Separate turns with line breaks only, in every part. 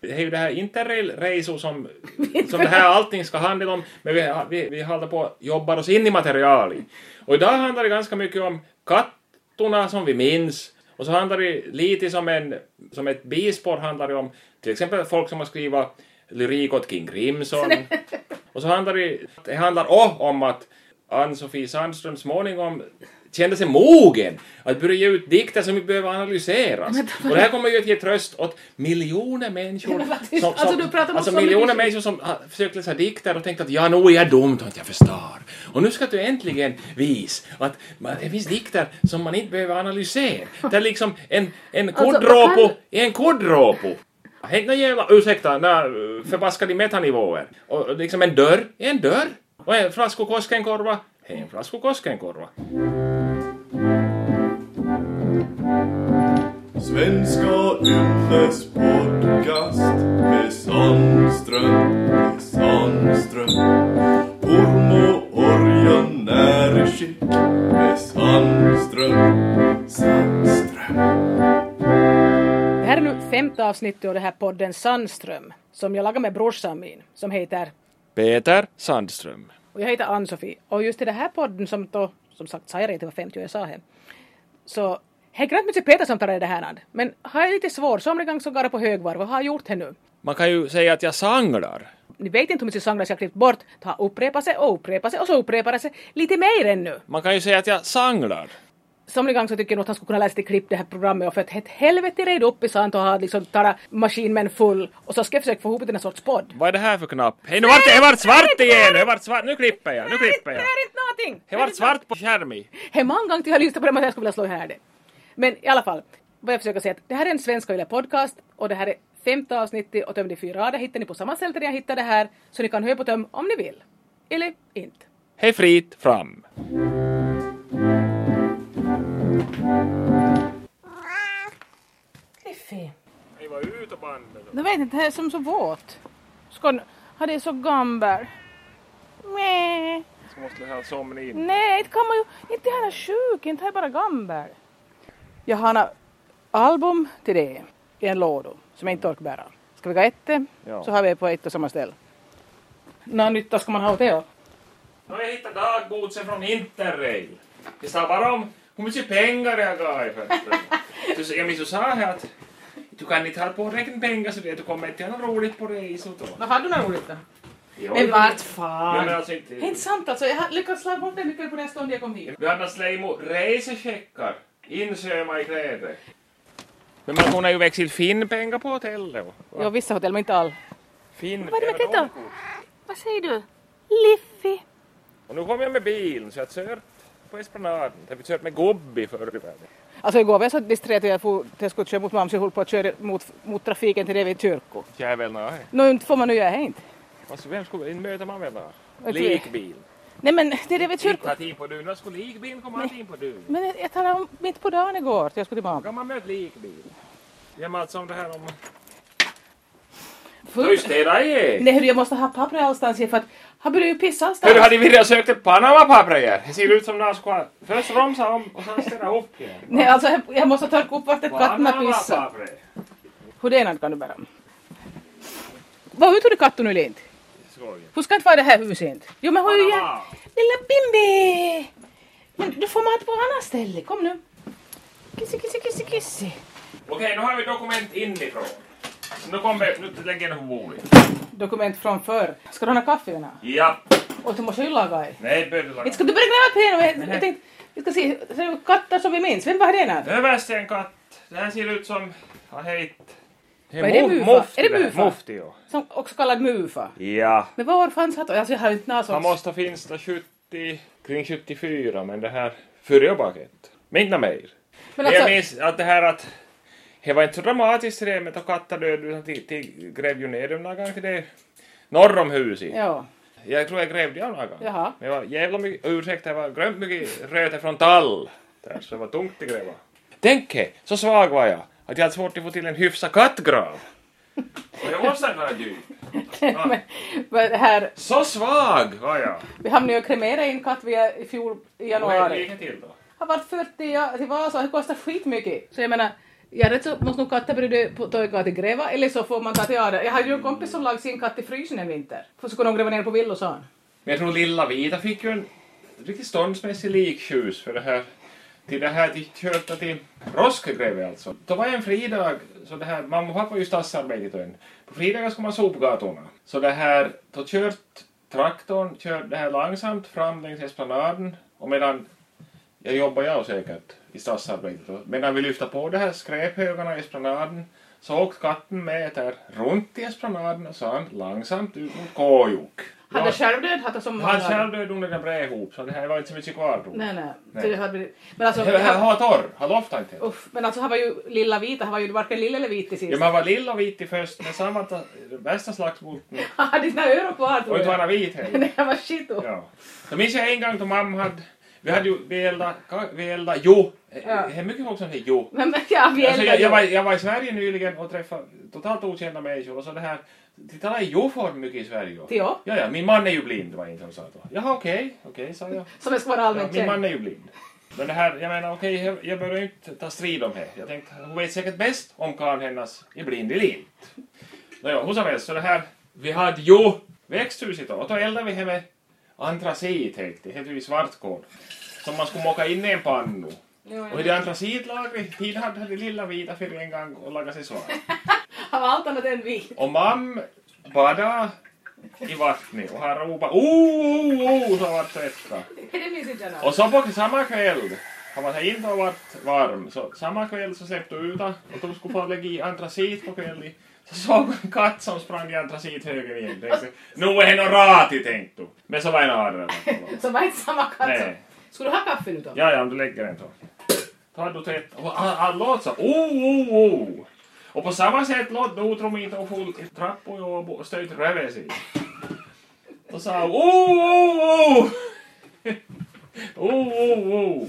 det är ju det här interrail-resor som, som det här allting ska handla om, men vi, vi, vi håller på och jobbar oss in i materialet. Och idag handlar det ganska mycket om kattorna som vi minns, och så handlar det lite som, en, som ett bispår handlar det om till exempel folk som har skrivit lyrik åt King Crimson. Och så handlar det, det handlar också om att Ann-Sofie Sandström småningom kände sig mogen att börja ge ut dikter som inte behöver analyseras. Och det här kommer ju att ge tröst åt miljoner människor
Men vad tyst.
som, som,
Alltså, du pratar om
alltså
sådana
miljoner
människor.
människor som har försökt läsa dikter och tänkt att ja, nog är jag dumt och inte jag förstår. Och nu ska du äntligen visa att man- det finns dikter som man inte behöver analysera. Det är liksom en, en
Alltså, vad
kuddråpo
kan-
är en kuddråpo. Helt nån jävla, ursäkta, nä, förbaskade metanivåer. Och och liksom en dörr är en dörr. Och en flasko Koskenkorva är en flasko Koskenkorva.
Svenska Yles podcast med Sandström, med Sandström. Orm och Örjan är i skick med Sandström, Sandström.
Det här är nu femte avsnittet av den här podden Sandström som jag lagar med brorsan min som heter
Peter Sandström.
och jag heter Ann-Sofie och just i den här podden som då som sagt sa jag redan till var 50 och jag sa hem så det är inte mycket Peter som tar det här hand. men har jag lite svårt somliga gånger så går det på högvarv vad har jag gjort här nu?
Man kan ju säga att jag sanglar.
Ni vet inte hur mycket sånger jag har klippt bort det har upprepat sig och upprepat sig och så upprepar det sig lite mer ännu
Man kan ju säga att jag sanglar.
Somliga gånger så tycker jag nog att han skulle kunna läsa lite klipp det här programmet och för att ett helvete red upp i sant och ha liksom tala maskinmän full och så ska jag försöka få ihop det till en sorts podd.
Vad är det här för knapp? Hej, nu vart det, det vart svart igen! Det vart svart, nu klipper jag, nu klipper jag.
Det är inte någonting!
Det vart svart på skärmen.
Hej, många gånger till jag lyssnat på det men jag skulle vilja slå här det. Men i alla fall, vad jag försöker säga att det här är en svenska Yle podcast och det här är femte avsnittet och tömde fyra rader hittar ni på samma ställe där jag hittade det här så ni kan höra på töm om ni vill. Eller inte.
Hej fritt fram.
Cliffy.
Ni var ute och bandet.
Jag vet inte, det här är som så våt. Skål, har det är så gambar. Mäh.
Så måste jag somna in.
Nej, inte kan man ju... Inte han är sjuk, inte han är bara gammal. Jag har en album till det i en låda som jag inte orkar bära. Ska vi gå ett
Ja.
så har vi på ett och samma ställe. Nå nytta ska man ha åt det?
Nu har jag hittat dagbotsen från Interrail. Det står bara om hur mycket pengar jag gav i fötterna. Så- så- Jag minns du sa här att du kan inte ha på räkna pengar så det du kommer inte göra något roligt på resan.
Vad har du något roligt då?
Jo.
Men vart
Ja, men
fan?
alltså inte...
Det är inte sant alltså, jag har lyckats slå bort den nyckeln på den stund jag kom hit.
Vi hade Sleimo resecheckar insöma i kläder. Men man kunde ju växla finnpengar på hotellet.
Jo, vissa hotell men inte all.
Finn,
Vad är det med detta? Vad säger du? Liffy.
Och nu kom jag med bilen så jag kört på Esplanaden. Där vi kört med Gobbi förr i världen.
Alltså igår var jag så disträ att jag for till jag skulle köra mot mamma så jag höll på att köra mot, mot trafiken till det vid kyrkor.
Jävel, nej.
Nå inte får man nu göra det inte.
Alltså, vem skulle inte möta man med
Okej.
Likbil.
Nej men det är det vid kyrkor.
Inte att in på dun. När skulle likbilen komma att in på dun?
Men jag, jag talade om mitt på dagen igår, så jag skulle till mamma.
Kan man möta likbil? Ja, men alltså om det här om...
Full-
städa igen!
Nej hörru, jag måste ha papper allstans här, för att han börjar ju pissa allstans.
Hörru, har de vilja sökt ett Panama-papper Det ser ut som när de skulle ha- först romsa om och sen städa upp igen.
Nej alltså jag, jag måste torka upp vart katterna pissar.
Panama-papper.
Hur det ena kan du bära. Vad hur tog du katten eller inte?
Skoj.
Hur ska inte vara i det här huset inte? Jo men har ju jag...
Panama.
Lilla Bimbi! Men du får mat på annat ställe, kom nu. Kissi, kissi, kissi, kissi.
Okej, nu har vi dokument inifrån. Nu kommer... Nu lägger jag den på bordet.
Dokument från förr. Ska du ha några kaffe Jonna?
Ja.
Och du måste ju laga det.
Nej, bödlar.
Inte ska du börja gräva pengar, men jag tänkte... Vi ska se, så är det katter som vi minns. Vem var det ena?
Överst är en katt. Det här ser ut som... Vad heter det?
Vad är det,
mu-
mufa?
mufti
Är det
här.
mufa?
Mufti, ja.
Som också kallad mufa.
Ja.
Men var fanns han? Alltså jag har inte någon
Han
sorts...
måste ha finns där 70... Kring 74, men det här... Före jag bakåt. Men inte mer.
Men alltså,
Jag minns att det här att... Det var inte så dramatiskt det med att katta död, utan till- till- grävde ju ner dem någon gång till det norr om huset.
ja.
Jag tror jag grävde av någon gång.
Jaha.
Men jag var jävla mycket, ursäkta, jag var grönt mycket röte från tall. Där, så det var tungt att gräva. Tänk er, så svag var jag att jag hade svårt att få till en hyfsad kattgrav. Och jag måste vara djup.
Men, men det här,
Så svag var jag.
vi hamnade ju och kremerade en katt via, i fjol i
Vad är det
januari.
lika till då?
Har varit 40 ja, till Vasa, det kostar skitmycket. Så jag menar, Ja, rätt så måste nog katter ta till gräva eller så får man ta till Ada. Jag har ju en kompis som lagt sin katt i frysen en vinter. För så kunde hon gräva ner på villosån.
Men jag tror Lilla Vita fick ju en riktigt ståndsmässig liktjus för det här. Till det här, till köpta till Roskegräve alltså. Då var en fridag, så det här, mamma och pappa var ju stadsarbetet och en. På fridagar skulle man sopa gatorna. Så det här, då kört traktorn, körde det här långsamt fram längs esplanaden och medan jag jobbar jag säkert i stadsarbetet. Och Medan vi lyfter på de här skräphögarna i esplanaden så åkte katten med där runt i esplanaden och sen långsamt ut mot Kåjok.
Hade
Ja.
själv död hatt som
Han själv död under den bred ihop, så det här var inte så mycket kvar då.
Nej, nej.
Nej.
Så det hade blivit... Men alltså...
Det här har torr, har loftat inte.
Uff, men alltså han var ju lilla vita, han var ju varken lilla eller vit till sist.
Ja, man var lill och vit i först, men sen var det det värsta slagsmålet.
Han hade sina öron kvar
Och
tror
inte var
jag.
han vit heller.
Nej, han var skit och...
Ja. Då minns jag en gång då mamma hade, vi hade ju, vi eldade, ka- vi eldade jo.
Ja.
Det är mycket folk som säger jo.
Men, men ja, vi
Alltså,
eldade
jag,
ju.
jag, var, jag var i Sverige nyligen och träffade totalt okända människor och så det här, de talar i jo-form mycket i Sverige.
Till jag.
Ja, ja, min man är ju blind var en som sa då. Jaha, okej, okej, sa jag.
Som jag ska vara
Ja,
allmänt
min man
känd.
är ju blind. Men det här, jag menar okej, jag, jag behöver inte ta strid om det. Jag tänkte, hon vet säkert bäst om karln hennes är blind eller inte. Nåja, hur som helst, så det här, vi hade ju växthuset då, och då eldade vi hemma antracit helt det heter ju svartkål, som man skulle mocka in i en pannu.
Jo,
Och i
jo.
det antracitlagret, tid hade det lilla vita för en gång och laga sig svart.
Han var allt annat än vit.
Och mam badade i vattnet och han ropade oh, oh, oh, så vart tvättad.
Det minns inte jag något.
Och så på samma kväll, har man sig inte har varit varm, så samma kväll så släppte du ut och de skulle få lägga i antracit på kvällen. Så såg hon en katt som sprang i antracit höger igen. Tänkte, nu är det nog rati, tänkte du. Men så var det en arre.
Så var inte samma katt som...
Nej.
Skulle du ha kaffe nu då?
Ja, ja, om du lägger den så. Då hade du tvätt. Och han, han låt så. Oh, oh, oh. Och på samma sätt låt Nordrom inte och full i trappor i Åbo och stöt röven sig. Då sa han oh, oh, oh. oh, oh, oh.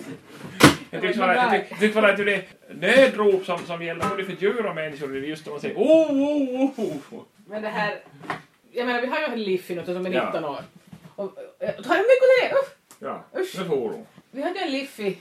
Jag tyckte bara, jag tyck- tyckte bara att det är nödrop som, som gäller både för djur och människor. Det är just det man säger oh, oh, oh, oh.
Men det här... Jag menar, vi har ju en Liffy nu som är
Ja.
19 år. Och, och, och tar jag mycket till det? Uff!
Ja,
Usch.
nu får hon.
Vi hade en Liffy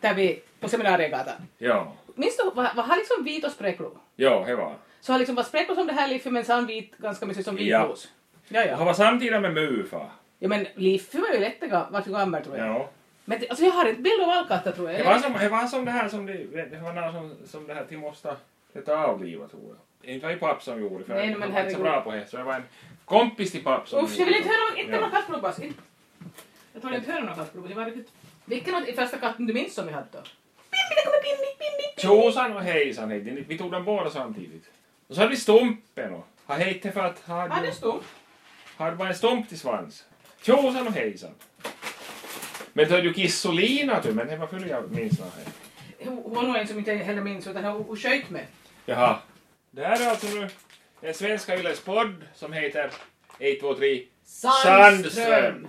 där vi, på Seminariegatan.
Ja,
Minns du, vad vad har liksom vit och spräcklo?
ja, det var.
Så har liksom varit spräcklo som det här Liffy men sen vit ganska mycket som
Ja.
vitros. Ja. ja,
Han
ja.
var samtidigt med Mufa.
men Liffy var ju lättegam, vart gammal tror jag.
Ja.
Men det- alltså jag har inte bild av allkatter tror jag.
Det var som det, var som det här som det, det var någon som, som det här till måste lite avliva tror jag. Inte var ju papp som gjorde för
Nej,
han
men
var inte så
herregud.
bra på det. Så det var en kompis till papp som
Usch, jag vill inte höra om, inte
Ja.
någon kattblodbass. Inte- Jag tror inte höra om någon kattblodbass. Jag var riktigt... Vilken av de första katten du minns som vi hade då? Pippi, det kommer Pinni, Pinni!
Tjosan och hejsan hette ni. Vi tog dem båda samtidigt. Och så hade vi Stumpen och han hette för att han
Han är stor.
hade bara en stump till svans. Tjosan och hejsan. Men då är det ju Kissolina du, men det var förr jag minns det här.
Hon hon var en som inte heller minns utan hon hon sköt med.
Jaha. Det här är alltså nu en svenska Yles podd som heter 123 Sandström.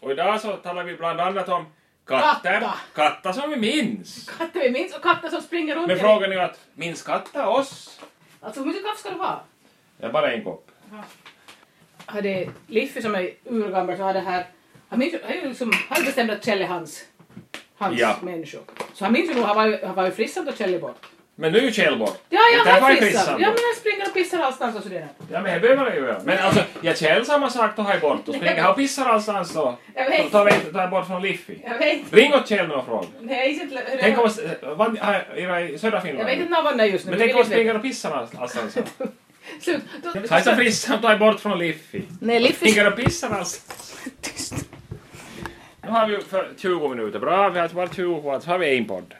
Och idag så talar vi bland annat om katter.
Katta.
Katter som vi minns.
Katter vi minns och katter som springer runt.
Men frågan är ju att minns katter oss?
Alltså hur mycket kaffe ska du ha?
Det är bara en kopp.
Hade Liffy som är urgammal så hade här, han minns ju, han är ju liksom, han hade bestämt att Kjell är hans, hans
Ja.
människa. Så han minns ju nog, han var ju, han var ju frissam då Kjell är bort.
Men nu är Kjell bort.
Ja,
Det
jag
här
var
ju
frissam.
frissan
Ja,
då.
men han springer och pissar allstans och sådär.
Ja, men det behöver det ju göra. Men alltså, ja, Kjell samma sak då har jag bort. Och springer han och pissar allstans då.
Jag vet.
Då tar vi- tar jag bort från Liffi.
Jag vet.
Ring åt Kjell nu och fråga.
Nej, jag gissar inte hur det
Tänk om
var.
man... vann- här, Era i södra
Jag vet inte
Finland.
när han var just nu.
Men
jag
tänk om
vill
man
inte
springer och pissar allstans. då.
veta. Slut. Då- Alltså,
Kajsa Frissan tar jag bort från Liffi.
Nej, Liffy...
Springer och pissar allstans.
Tyst.
Nu har vi för 20 minuter. Bra, vi har bara 20 kvar, så har vi en podd.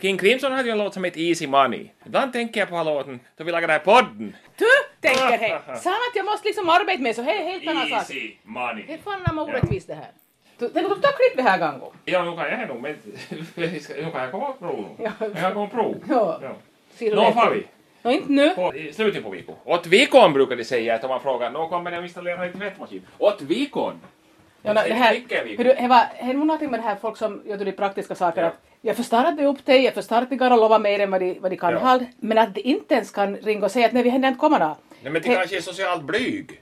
King Crimson hade ju en låt som hette Easy Money. Ibland tänker jag på den här låten då vi lagade den här podden.
Du tänker
Ah,
hej. Sa han att jag måste liksom arbeta med så hej, helt annan sak.
Money.
Helt fan namn orättvist det här. Du- Tänk om du tar klipp det här gången.
Ja, nu kan jag nog, men nu kan jag komma och prova.
Ja.
Jag kan komma och prova.
Ja.
Ja.
Ser du
Nå
det?
far vi.
Nå, inte nu.
På- I slutet på veckan. Åt vikon brukar de säga att om man frågar Nå kommer ni att installera en tvättmaskin. Åt vikon.
Ja, no, det här,
Vilken vi-
hörru, det var, det är nog någonting med det här folk som gör de praktiska saker.
Ja.
Att jag förstår att det är upp till dig, jag förstår att de kan lova mer än vad de, vad de kan
Ja.
ha, men att de inte ens kan ringa och säga att nej, vi hinner inte komma då.
Nej, men det
He-
kanske är socialt blyg.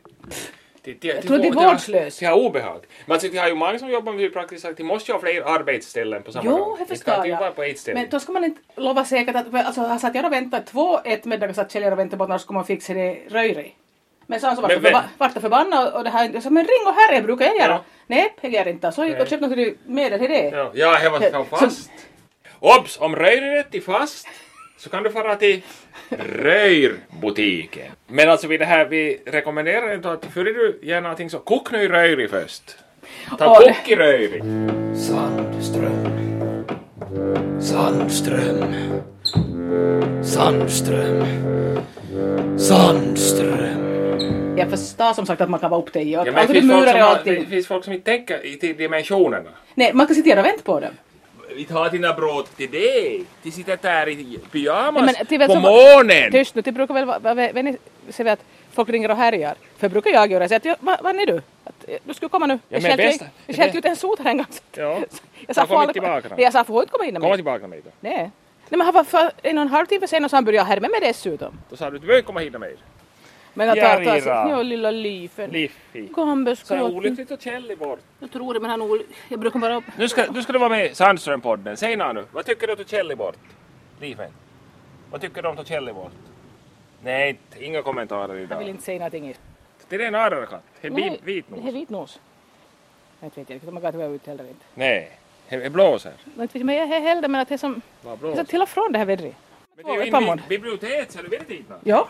till, till,
tror att det är
till vår-
vårdslöst.
Till, till obehag. Men alltså, vi har ju många som jobbar med det praktiskt sagt. De måste ju ha fler arbetsställen på samma gång.
Jo, det
Det kan
förstår
inte vara på ett
jag.
ställe.
Men då ska man inte lova säkert att... Alltså, han satt jag och väntade två eftermiddagar satt Kjell och väntade på att när ska man fixa det röjre. Men så han så vart
Men
jag förba-
vem?
vart jag förbannad och det här... Jag sa men ring och herre brukar jag göra.
Ja.
Nej, det gör jag inte. Så jag gick
Nej.
och köpte något medel till det.
Ja, ja det var
Så-
så fast. Obs! Om röjret är fast så kan du fara till röjrbutiken. Men alltså vid det här, vi rekommenderar inte att före du gör någonting så kok nu i röjri först. Ta
Och-
kok i röjri.
Sandström. Sandström. Sandström. Sandström.
Jag förstår som sagt att man kan vara upptagen. Ja,
Ja, men
alltså, du
finns folk,
murar
som,
och
har-
allting.
det finns folk som inte tänker i till dimensionerna.
Nej, man kan sitta där och vänta på dem.
Vi tar dina bröd till dig. De sitter där i pyjamas
Nej, men det är väl
på
som-
morgonen.
Tyst nu, det brukar väl vara... vara- vem- vem- Ser vi att folk ringer och härjar. För brukar jag göra. Jag säger att jag- va- var är du? Att, eh, du skulle komma nu. Jag
men
skällde ju-
bästa-
jag skällde ut en sotare en gång.
Ja.
Jag sa,
Han
får
kom inte
aldrig-
tillbaka då.
Nej, jag sa får inte komma in.
Kom
Nej.
tillbaka med det.
Nej, men han var för en och en halv timme sen och så han började härma mig dessutom.
Då sa du att du behöver komma hit med.
Men att ta, ta sig,
Järira.
ja, lilla Lyfen.
Liffi. Så
Gambuska.
olyckligt att Kjell är bort.
Jag tror det, men han ol... Jag brukar bara...
Nu ska, nu ska du vara med i Sandström-podden. Säg nå nu, vad tycker du att Kjell är bort? Lifen. Vad tycker du om att Kjell är bort? Nej, inte- inga kommentarer
Jag
idag.
vill inte säga någonting.
Det är en arrakatt. Det är
Nej,
bi- vit
Det är
nog.
vitnos. Jag vet inte, man kan inte vara ute heller inte.
Nej, det är blåser.
Men inte vet jag, men jag är heller, men att det är som...
Vad
Det är
blåser?
så till och från det här vädret.
Men det är ju
Ett par månader.
en bibliotek, så du vet inte.
Ja,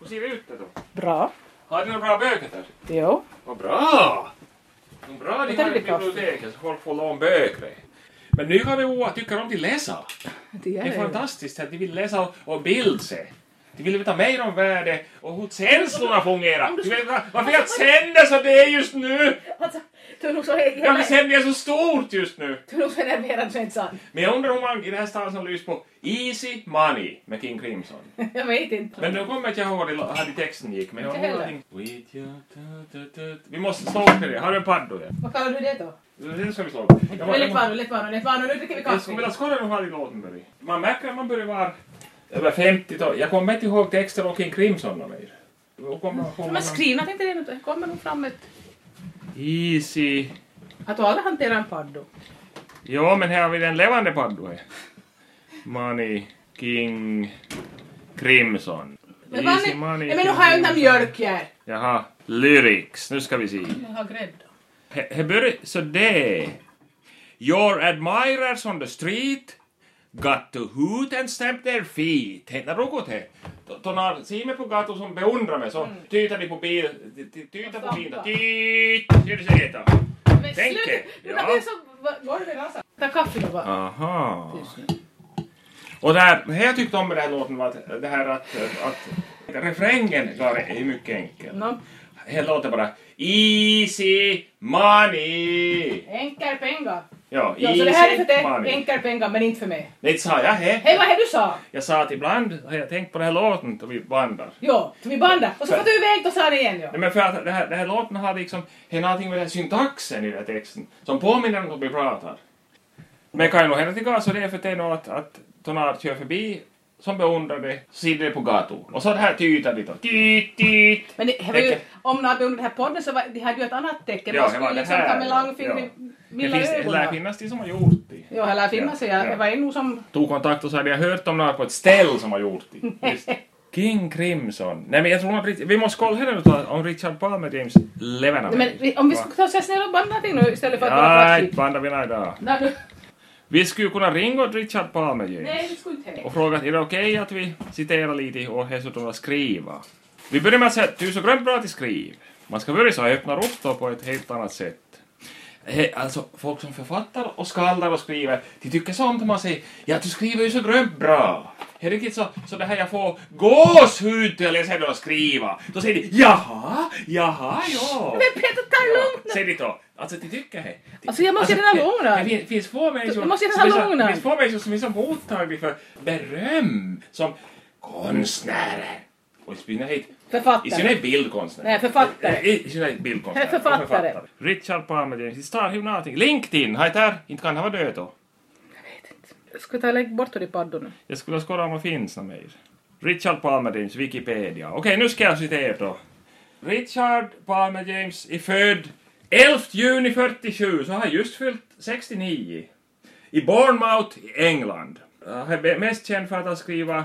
Hur ser det ut då?
bra.
Har du några bra böcker där?
Jo.
Vad bra! Vad bra de
tar
har i
lite kaffe.
biblioteket så folk får låna böcker. Men nu har vi oa tycker om de läsa.
Det
Det är fantastiskt att de vill läsa och- och bilda sig. De vill veta mer om världe och hur känslorna fungerar. Du vet, va- varför jag känner så det är just nu?
Alltså, du är nog så...
Varför känner jag så stort just nu?
Du är nog så nerverad så inte sant.
Men jag undrar hur många i det här stället som lyssnar på Easy Money med King Crimson.
Jag vet inte.
Men nu kommer jag inte ihåg hur det- hur texten gick. Men jag
Inte
har
heller.
någonting- With your ta-ta-ta-ta. Vi måste slå upp det. Har du en paddo? där?
Vad kallar du det då?
Det ska vi slå upp. Jag var-
Lätt vanor, lätt vanor, lätt vanor. Nu dricker vi
Jag skulle vilja skåda de här i låten börjar. Man märker att man börjar vara över 50 -tal. Jag kommer inte ihåg texten om King Crimson och mer. Jag kommer ihåg-
Men skriv något inte det nu. Det kommer nog fram ett...
Easy.
Att du aldrig hanterar en paddo.
Ja, men här har vi den levande paddoe. Money King Crimson.
Men, vad
Easy
ni,
money.
nej, men nu har jag inte mjölk här.
Jaha, lyrics. Nu ska vi se.
Jag har grädde.
He- he börjar så det. Your admirers on the street got to hoot and stamp their feet. Tänk något det. De har Sime på gatan som beundrar mig
Mm.
så tytar de på bil, ty- ty- tytar på bilen. Tyt! Gör det så heter.
Men
Tänk
sluta!
er,
Nu
ja.
kan vi så- va- golvet rasar. Ta kaffe nu bara.
Aha. Och det här, det här jag tyckte om med den här låten var att, det här att, att refrängen var är mycket enkel.
Nå,
Här låter bara Easy money.
enkel pengar.
Ja,
Ja,
easy
så det här är för dig,
money.
enkel pengar, men inte för mig.
Nej, det sa jag he.
Hej, vad är det du sa?
Jag sa att ibland har jag tänkt på den här låten då vi bandar.
Ja, så vi bandar. Och så får du iväg och sa det igen. Ja.
Nej, men för att den här, den här låten har liksom, det är någonting med den här syntaxen i den här texten som påminner om hur vi pratar. Men kan jag nog hända till gas så det är för att det är nog att, att tonart kör förbi som beundrar det, så sitter det på gatorn. Och så det här tytar lite. Tyt, tyt.
Men det, här var ju,
Tänker-
om några under den här podden så var, de hade ju ett annat tecken.
Ja,
Man
det var det
skulle liksom
här,
ta med långfingret
ja. Det,
mellan
finns, det lär
ögonen.
finnas de som har gjort det.
Ja, här lär finnas.
Ja,
Ja,
ja.
Det var en nog som...
tog kontakt och så hade jag hört om några på ett ställe som har gjort det. Just. King Crimson. Nej men jag tror att Rich- vi måste kolla här nu då om Richard Palmer James lever
Nej, Men vi- om vi skulle ta oss snälla och banda någonting nu istället för att vara
Nej,
praktik.
bandar vi några idag.
Nej, nu-
Vi skulle kunna ringa åt Richard Palmer
Nej,
James
det skulle inte hända.
och fråga är det okej att vi citerar lite och dessutom att skriva. Vi börjar med att säga att du är så grymt bra till skriv. Man ska börja så här, öppnar upp då på ett helt annat sätt. He, alltså, folk som författar och skaldar och skriver, de tycker så om när man säger ja, du skriver ju så grymt bra. Det är riktigt så, så det här jag får gåshud när jag läser det och skriva. Då säger de jaha, jaha, ja.
Men Peter, ta det lugnt
Säg det då. Alltså, de tycker det. De-
Alltså, jag måste redan
det-
ångra.
det fin- finns få människor
Du måste
som är
redan
så-
ångra.
finns få människor som är så mottagliga för beröm som konstnärer. Och i synnerhet, i
Författare.
synnerhet bildkonstnärer.
Nej, författare.
Eh, I synnerhet bildkonstnärer.
Nej, författare.
och Richard Palmer James, det står ju någonting. LinkedIn, har jag där? Inte kan han vara död då.
Ska vi ta och lägga bort det i paddan nu?
Jag skulle skåda om det finns något mer. Richard Palmer James, Wikipedia. Okej, nu ska jag citera då. Richard Palmer James är född 11 juni 47, så har han just fyllt 69. I Bournemouth i England. Han är mest känd för att han skriver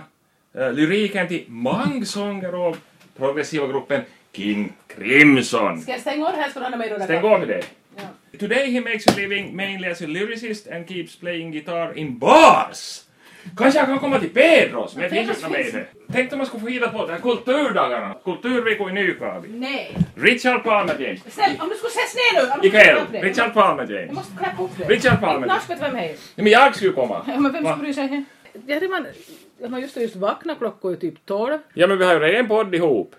eh, lyriken till mangsånger av progressiva gruppen King Crimson.
Ska jag stänga av det här ska du ha mig då?
Stäng av det.
Ja.
Today he makes a living mainly as a lyricist and keeps playing guitar in bars. Kanske jag kan komma till Pedros, men det finns ju inte med det. Tänk om man skulle få hit på de här kulturdagarna, kulturvecko i Nykabi.
Nej.
Richard Palmer James.
Snälla, om du skulle ses ner nu! Om du skulle
Ikväll,
knappa dig.
Richard Palmer
Jag
James.
måste knappa upp det.
Richard Palmer.
Annars vet vem det är.
Nej men jag skulle komma.
Ja, men vem
Va?
ska bry sig? Ja, det man, jag har just, just vaknat klockan är typ 12.
Ja men vi har ju redan podd ihop.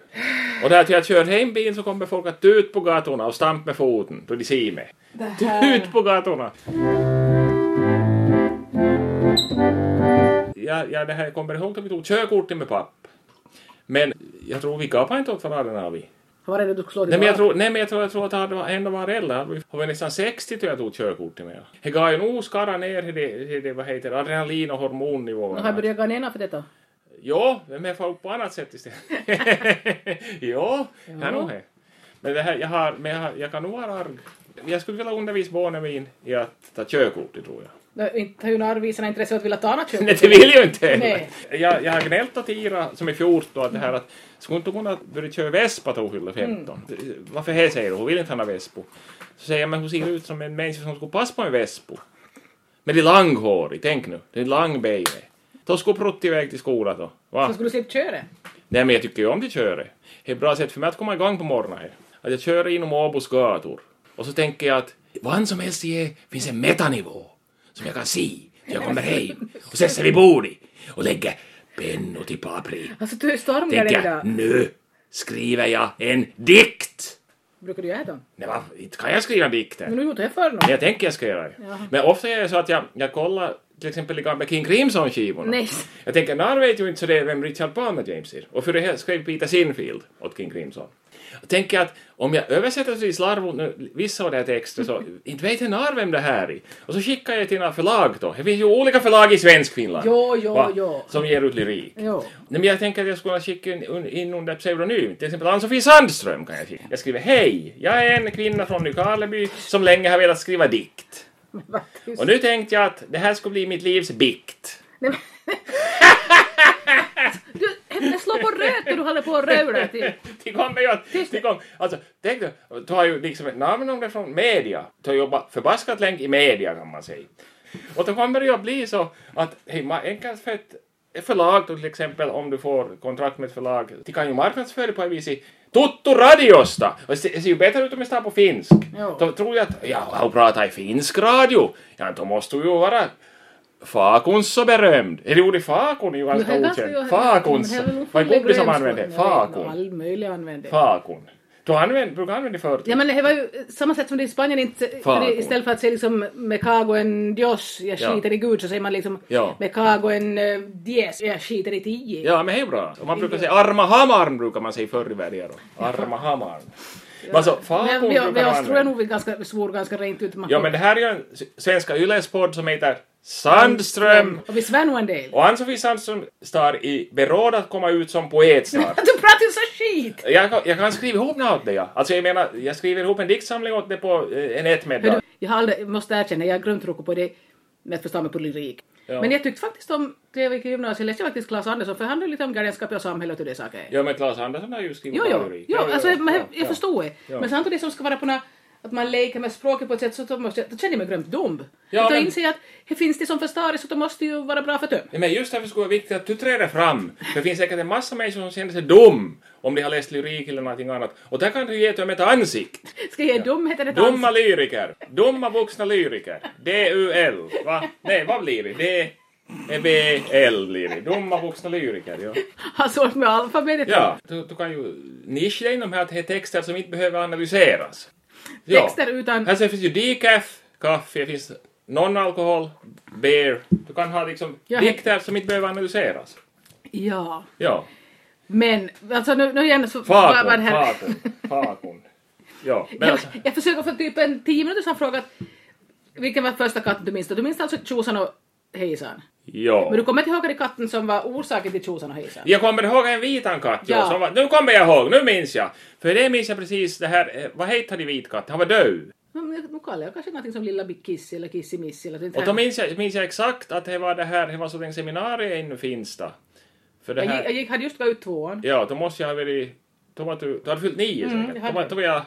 Och där till jag kör hem bilen så kommer folk att ut på gatorna och stampa med foten då de ser mig.
Det
Ut på gatorna! Ja, ja, det här kommer ihåg att vi tog körkortet med papp. Men jag tror vi gapade inte åt varandra. när Vi.
Var är det du skulle slå dig
Nej, men jag
på?
tror, nej, men jag tror, jag tror att han var- ändå var äldre. Han var ju- han var nästan 60 då jag tog körkortet med. Det gav ju nog skara ner i det, i det, vad heter det, adrenalin och hormonnivåerna.
Nu har jag börjat gå ner för detta.
Ja, men jag får upp på annat sätt istället. ja, jag har nog det. Men, det här, jag, har, men jag, har, jag kan nog vara arg. Jag skulle vilja undervisa barnen min i att ta körkortet tror jag.
Nej, Inte har ju narvisorna intresse av att vilja ta annat körkort.
Nej, det vill jag ju inte heller.
Nej.
Jag, jag har gnällt åt Ira som är 14 att det här att skulle inte kunna börja köra Vespa då hon fyller 15. Varför det säger hon, hon vill inte ha någon Vespo. Så säger jag, men hon ser ut som en människa som skulle passa på en Vespo. Men det är langhårig, tänk nu. Det är langbeine. Då skulle Prutt iväg till skolan då. Va?
Så skulle du slippa köra.
Nej, men jag tycker ju om det köret. Det är ett bra sätt för mig att komma igång på morgonen. här. Att jag kör inom Åbos gator. Och så tänker jag att vad som helst i er finns en metanivå som jag kan se när jag kommer hem och sätter vid bordet och lägger pennor till papperet.
Alltså du är stormigare
Tänker jag,
idag.
nu skriver jag en dikt!
Brukar du göra det?
Nej, va? inte kan jag skriva dikter.
Men nu gjorde jag för
Men
något.
jag tänker jag ska göra det.
Jaha.
Men ofta är det så att jag, jag kollar till exempel i gamla King Crimson-skivorna.
Nej.
Jag tänker, när vet ju inte så det är vem Richard Palmer James är. Och för det här skrev Peter Sinfield åt King Crimson. Jag tänker att om jag översätter så i slarv nu, vissa av de här texterna så inte vet jag när vem det här är. Och så skickar jag till några förlag då. Det finns ju olika förlag i svensk Finland.
Jo, jo,
va,
jo.
Som ger ut lyrik.
Jo.
Nej, men jag tänker att jag skulle skicka in, un- in under pseudonym. Till exempel Ann-Sofie Sandström kan jag skicka. Jag skriver Hej! Jag är en kvinna från Nykarleby som länge har velat skriva dikt.
Men vad tyst.
Och nu tänkte jag att det här skulle bli mitt livs bikt.
Nej, men- Du, jag slår på röt när du håller på och röra till.
Det kommer ju att... Det kom, alltså, tänk dig, du har ju liksom ett namn om det från media. Du har jobbat förbaskat länge i media kan man säga. Och då kommer det ju att bli så att hej, ma- enkelt för ett ett förlag då till exempel om du får kontrakt med ett förlag, de kan ju marknadsföra på ett vis i Tuttu radiosta! Och det ser det ser ju bättre ut om jag står på finsk.
Ja.
Då tror jag att, ja, han pratar i finsk radio. Ja, då måste du ju vara Fakunssa berömd. Eller jo, det Fakun är ju
Men
ganska
här ganska-
okänd.
men
Fakunssa.
här är nog
Vad är
fulla
kompis som
grönskog.
använder?
Jag vet inte,
Fakun.
All möjlig använder.
Fakun. Du använder, brukar använda det förut.
Ja men det var ju eh, samma sätt som det i Spanien inte, för det, istället för att säga liksom me cago en dios, jag
Ja.
skiter i gud, så säger man liksom
Ja.
me cago en eh, dies, jag skiter i tio.
Ja, men det är bra. Och Man brukar säga arma hamarn brukar man säga förr i världen. då. Arma hamarn. Men alltså,
Men
Fakun
vi, vi,
brukar
vi
man
tror jag
använda.
nog vi ganska, svor ganska rent ut. Man-
Ja, men det här är ju en s- svenska ylespodd som heter Sandström.
Och vi svär nog en del.
ehm, Och Ann-Sofie Sandström står i beråd att komma ut som poet snart.
Du pratar ju så skit!
Jag, kan- jag kan skriva ihop något åt dig. ja. Alltså jag menar, jag skriver ihop en diktsamling åt dig på eh, en
Hördu,
ettmiddag.
jag har aldrig, jag måste erkänna, jag har glömt tro på det med att förstå mig på lyrik.
Ja.
Men jag tyckte faktiskt om, när jag gick i gymnasiet, jag läste faktiskt Claes Andersson, för han är lite om galenskap och samhället och det saker.
Ja, men Claes Andersson har ju skrivit
Jo, jo,
lyrik.
jo alltså, jag, jag,
ja.
förstår det.
Ja.
Men samtidigt som ska vara på nå- att man leker med språket på ett sätt så då, måste jag, då känner jag mig glömt dum.
Ja,
Ja, då
men-
inser jag att det finns det som förstår det så då måste ju vara bra för dum.
Ja, men just därför skulle det vara viktigt att du träder fram. För det finns säkert en massa människor som känner sig dum om de har läst lyrik eller någonting annat. Och där kan du ge dem ett ansikte.
Ska jag ge dumheten ett
Dumma
ansikte?
lyriker. Dumma vuxna lyriker. DUL. Va? Nej, vad blir det? D... BL blir det. Dumma vuxna lyriker, ja.
Har svårt med alfabetet.
Ja, du, du kan ju nischa dig inom här att det är texter som inte behöver analyseras. Ja.
Texter utan...
Här sen finns ju decaf, kaffe, det finns non-alkohol, beer. Du kan ha liksom
Ja.
dikter som inte behöver analyseras.
Ja.
Ja.
Men, alltså nu, nu igen så... vad- vad det
Fakun,
här-
fakun, fakun. Ja, men
jag,
alltså,
jag försöker för typ en tio minuter sedan fråga att vilken var första katten du minns? Du minns alltså Tjosan och Hejsan?
Ja.
Men du kommer inte ihåg den katten som var orsaken till tjosan och hejsan?
Jag kommer ihåg en vitan katt, ja.
Ja.
som var, nu kommer jag ihåg, nu minns jag. För det minns jag precis det här, eh, vad hette han i vit katt? Han var död.
Men jag- Nu kallar jag kanske någonting som Lilla Bi- Kissi eller Kissi-Missi eller sånt
Och då minns jag, minns jag exakt att det var det här, det var sådant seminarium i Finsta. För det
jag, gick, jag
här,
gick, hade just gått ut tvåan.
ja, då måste jag ha varit, då var du, du hade fyllt nio
Mm,
säkert.
jag
Då
hade
var,
det.
då var jag,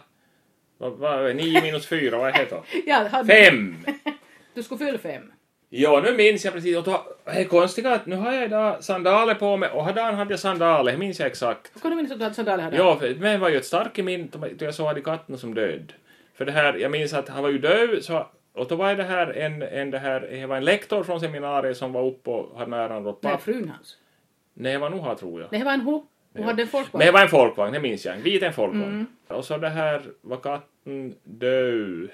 vad, vad, nio minus fyra, vad heter det?
Ja, hade,
Fem!
Du skulle fylla fem.
Ja, nu minns jag precis. Och då, det konstiga är att nu har jag idag sandaler på mig och härdan hade jag sandaler, det minns jag exakt.
Och kan du minnas att du hade sandaler här? då?
Ja, för mig var ju ett starkt minne då jag såg katten som död. För det här, jag minns att han var ju död, så, och då var det här en, en, det här, det var en lektor från seminariet som var uppe och hade nära en
Nej,
rått
frun hans.
Nej, det var nog han tror jag.
Nej, det var en ho. Hon hade en folkvagn.
Men det var en folkvagn, det minns jag. En vit en folkvagn.
Mm.
Och så det här var katten död.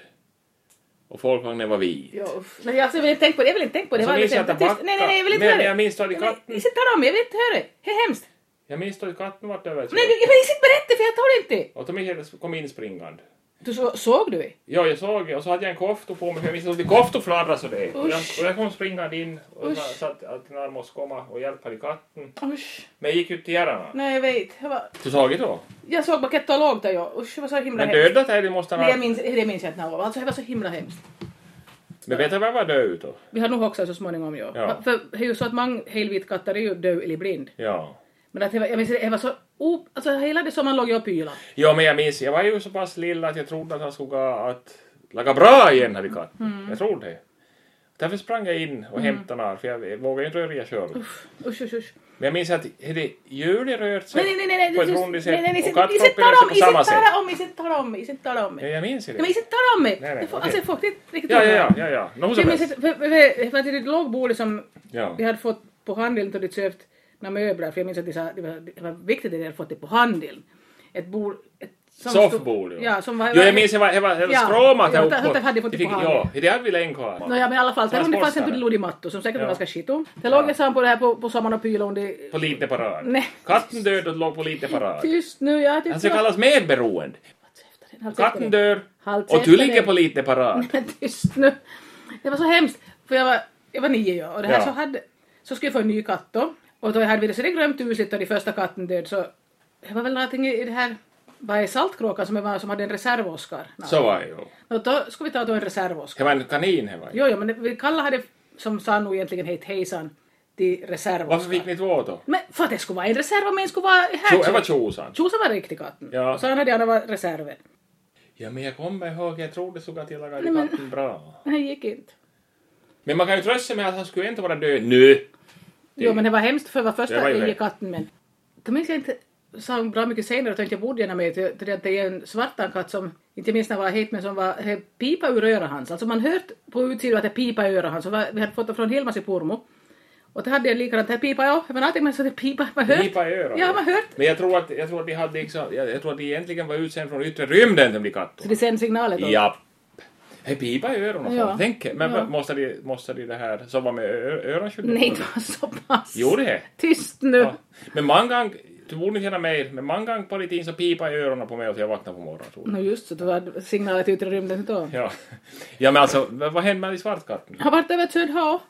Och folkvagnen var vit.
Ja, uff. Nej, alltså, jag vill inte tänka på det. Jag vill inte tänka på det.
Så
var
minns jag
väldigt-
att jag
tyst. Nej, nej, nej, jag vill inte
backade.
höra det.
Men jag minns då att det
Nej,
katten-
men Inte tala om det. Jag vill inte höra det. Det är hemskt.
Jag minns då att katten var död.
Nej, men jag inte berätta för jag tar det inte.
Och då minns jag att jag kom inspringande.
Du så, såg du det?
Ja, jag såg och så hade jag en kofta på mig, för jag visste att koftor fladdrade så det. Och jag,
Usch.
och jag kom springande in och
Usch.
sa så att, att någon måste komma och hjälpa dig katten.
Usch.
Men jag gick ut till herrarna.
Nej, jag vet. Jag, var,
Du såg det då?
jag såg bara Ketto och låg där jag. Usch, det var så himla
Men döda dig, det måste
Nej, jag
han ha.
minns, det minns jag inte. när jag var- Alltså, det var så himla hemskt.
Men vet du vad jag var död då?
Vi har nog också så småningom, ja.
Ja.
För det är ju så att många helvitkatter är ju döv eller blind.
Ja.
Men att det var, jag minns, det var så... Op, alltså, hela det sommaren låg jag och pylade.
Ja, men jag minns, jag var ju så pass lilla att jag trodde att han skulle gå att laga bra igen här i katten.
Mm.
Jag trodde det. Därför sprang jag in och hämtade han, för jag vågade ju inte röra själv.
Usch, usch, usch.
Men jag minns att hade Julie rört sig
Nej, nej, nej, nej.
på
du-
ett
du-
rundigt
nej,
sätt
nej, nej,
och
inte-
kattkroppen
inte tala
rör sig
om-
på samma
inte
sätt.
tala om- Inte tala om, inte tala om.
Ja, jag minns ju det.
Nej, men inte tala om mig!
Nej, nej,
Det får-
okej.
Alltså folk, det är inte riktigt
Ja,
bra.
ja, ja, ja. No,
Jag minns att för- för- för att det låg bordet som
Ja.
vi hade fått på handeln då de köpt några möbler, för jag minns att de sa, det, var, det var viktigt att de hade fått det på handeln. Ett bord... Ett, som
Soffbord,
stod-
ja.
Ja, som var...
Jo, jag minns det var, det var, det var
Ja.
skråmat
Ja,
här
det- det hade jag fått
Vi
i
fick-
på
Ja,
hagen.
det hade vi länge kvar.
Nåja, men i alla fall, där under fanns en
Transportstare.
tuddeluddimatto som säkert
Ja.
var ganska skitig. Där låg jag sam på det här på, på sommaren och pylade under...
På lite parad.
Nej.
Katten död och låg på lite parad.
Tyst nu, jag tyckte...
Han ska kallas medberoende. Katten dör
Halvt
och du
efter
ligger
det.
på lite parad.
Men tyst nu. Det var så hemskt. För jag var, jag var nio ja, och det här
Ja.
så hade, så skulle jag få en ny katt då. Och då hade vi det så det glömt husligt och den första katten död så det var väl någonting i i det här, vad är Saltkråkan som, var, som hade en reserv-Oskar? Nå.
Så var det ju.
Och då skulle vi ta då en
Det
reserv-Oskar.
var en kanin det var. ju.
Jo, jo, men det- vi kallade det som sa nog egentligen hejt hejsan till
Varför fick
reserv-Oskar.
ni två då?
Men för att det skulle vara en reserv och min skulle vara
Jo, Det var
här.
tjosan.
Tjosan var riktig katten.
Ja.
Och så hade andra var reserven.
Ja, men jag kommer ihåg, jag trodde så att jag lagade
Nej, men-
katten bra.
Men det gick inte.
Men man kan ju trösta sig med att han skulle inte vara död nu.
Jo, men det var hemskt för det var
Det
första
var ju
jag
det.
gick katten men då minns jag inte så bra mycket senare att jag inte bodde gärna med till till det att det är en svartankatt som inte minns när jag var hit men som var he, pipa ur örat hans. Alltså man hört på utsidan att det pipa i örat hans. Så var- Vi hade fått det från Hilmas i Pormo. Och det hade jag likadant, det här pipa ja, det var någonting men så det pipa, man hört.
Pipa i örat.
Ja, man hört.
Men jag tror att, jag tror att de hade liksom, jag, jag tror att de egentligen var utsända från yttre rymden, de blir katter.
Så det sen signalet då.
Japp. Det pipa i öronen.
Ja.
Ja. Tänk, men
Ja.
måste de, måste de det här sova med ö- öronskydd?
Nej, det var så pass.
Jo det.
Tyst nu.
Ja. Men många gång, du borde inte känna mig, men många gång på tiden så pipa i öronen på mig och jag vaknar på morgonen. tror jag.
Nå just så, det var signalet ut i rymden då.
Ja. ja men alltså, vad vad händer med de svartkatten?
Har varit över Söderhavn.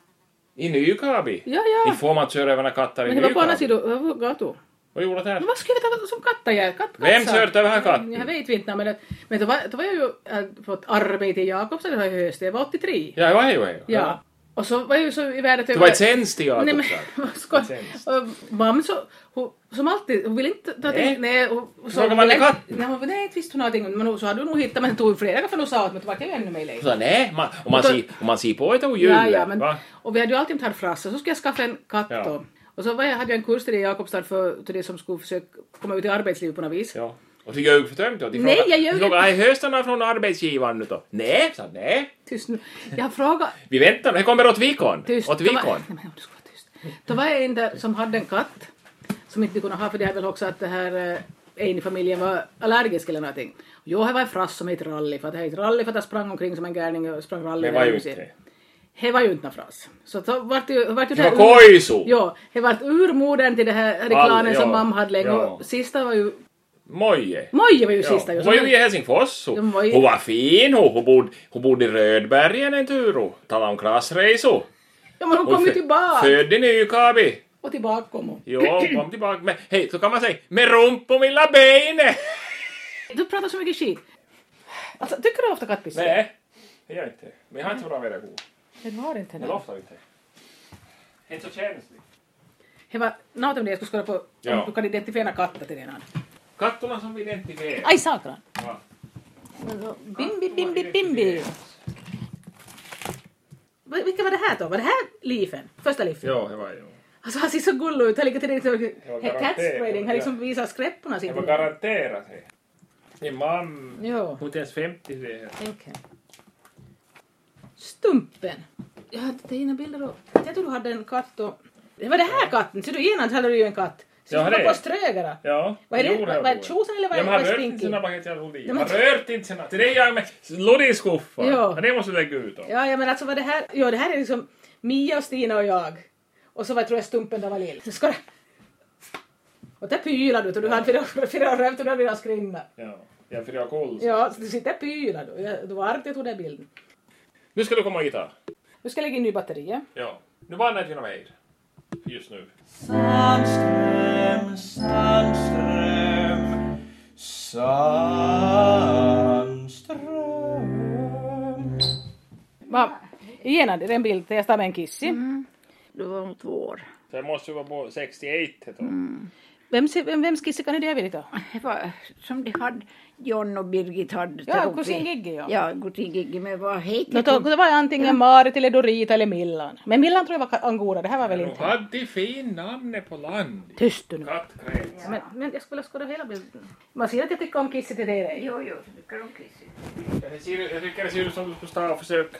I Nykabi?
Ja, ja.
Inte får man köra över några katter i
Men det var på andra
Nykabi.
sidan, det var gatan.
Vad gjorde det här?
Men vad ska jag veta som katta jag är? Katt, katt,
Vem
sa-
körde över här katten?
Jag vet inte, men, att- men då, var, då var jag ju äh, fått arbete i Jakobstad det här i höst, jag var 83.
Ja, det var ju det.
Ja. Och så var jag ju så i världen att jag
Det var ett tjänst i
Nej men
Jakobstad.
vad skoj.
Tjänst.
Och Mamma så, hon, som alltid, hon vill inte ta
Nej.
till... Nej. hon- hon sa-
Frågar
hon
man
vill
till
inte-
katten?
Nej, hon nej, inte visste hon någonting. Men hon- så hade hon nog hittat, men det tog ju flera gånger för hon sa att men det var jag ju ännu mer lej.
Så nej, man, om, man
Mutta-
ser, om man ser på ett odjur,
Ja, ja, men,
va?
och vi hade ju alltid inte haft frasse, så skulle jag skaffa en katt
Ja.
då. Och så var jag, hade jag en kurs till det i Jakobstad för till det som skulle försöka komma ut i arbetslivet på något vis.
Ja. Och du ljög för tömt då? De
Nej,
frågade-
jag ljög
de frågade, "Är höstarna från arbetsgivaren nu då? Nej, sa han, nej.
Tyst nu. Jag frågade...
Vi väntar, det kommer åt vikon.
Tyst.
Åt
Då var-
vikon.
Nej, men du ska vara tyst. Då var jag en där som hade en katt som inte kunde ha för det här väl också att det här eh, en i familjen var allergisk eller någonting. Jo, här var en frass som hette Rally för att hette Rally för att han sprang omkring som en galning och sprang rally.
Det
över
var ju
huset.
inte det.
Det var ju inte någon frass. Så då vart det ju... Vart ju
Det var
här ur-
koisu.
Ja, det vart urmodern till det här reklamen
ja.
som mamma hade länge
Ja.
och sista var ju...
Moje.
Moje var ju
Ja,
sista.
hon
så
var ju
men-
i Helsingfors.
Ja,
Hon
hon var ju-
hon var fin hon. Hon bodde, hon bodde i Rödbergen en tur. och Tala om klassresor.
Ja, men hon kom ju tillbaka.
Född i Nykabi.
Och tillbaka kom hon.
Jo, kom tillbaka. Men hej, så kan man säga med rumpomilla beinet.
Du pratar så mycket skit. Alltså, tycker du ofta kattpiss?
Nej, det gör jag inte. Men jag har inte så bra vädergod.
Nej, du har inte
Jag
det.
loftar inte. Inte så känsligt.
Det var något om det jag skulle skåda på.
Ja.
Om du kan identifiera katter till den andra.
Kattorna som vi identifierar.
Aj, sakran.
Ja.
Bimbi, bimbi, bimbi. Vad- Vilka var det här då? Var det här Leafen? Första Leafen?
Ja, det var ju.
Alltså han ser så gullig ut. Han ligger till
var
liksom...
garanterat.
Catspreading. Han liksom visar skräpporna
Det var
sitt.
garanterat det. Din man.
Jo,
Hon är inte ens 50 det här.
okej. Stumpen. Jag hade tagit in bilder och... Jag tror du hade en katt och... Det var det här katten. Ser du, genast hade du ju en katt. Så
Ja,
du var
det.
på Strögera.
Ja.
Vad är det?
Jo, har
Vad- vad är
jag
det? Tjosan eller vad
Ja,
är-
men han
vad är
rört inte
Stinky?
sina baguetter i alla fall.
Ja,
Han
men-
rört inte sina. Det är det jag med. Loddig skuffa.
Ja.
Det måste du lägga ut om.
Ja, ja men alltså vad det här... Ja, det här är liksom Mia och Stina och jag. Och så var tror jag Stumpen där var lill. Så ska det... Och där pylar du, och du hade fyra, fyra rövt och du hade fyra skrinna.
Ja. Ja, för jag har koll.
Ja, så du sitter och pylar du. Jag- Du var arg att jag tog den bilden.
Nu ska du komma och gitarr.
Nu ska jag lägga in ny batteria.
Ja. Nu bandar jag genom hejd. Just nu.
Sandström, Sandström, Sandström.
Va? Genast, det är en bild där jag står med en kissi.
Du var nog två år.
Så jag måste ju vara på 68 heter mm.
Vems, vem, vems kissi kan det där vara då?
Det var som de hade, John och Birgit hade.
Ja,
där uppe.
kusin Gigi, ja.
Ja, kusin Gigi, men vad
No,
heter
to,
hon?
det var antingen Marit eller Dorita eller Millan. Men Millan tror jag var ka- angora, det här var väl
De
inte...
hade fin namn på land.
Tyst du nu.
Kattkräks.
Men, men jag skulle skåda hela bilden. Man ser att jag tycker om kissi till dig.
Jo, jo, tycker om kissi.
Jag ser- jag tycker det ser ut som du skulle stå och försöka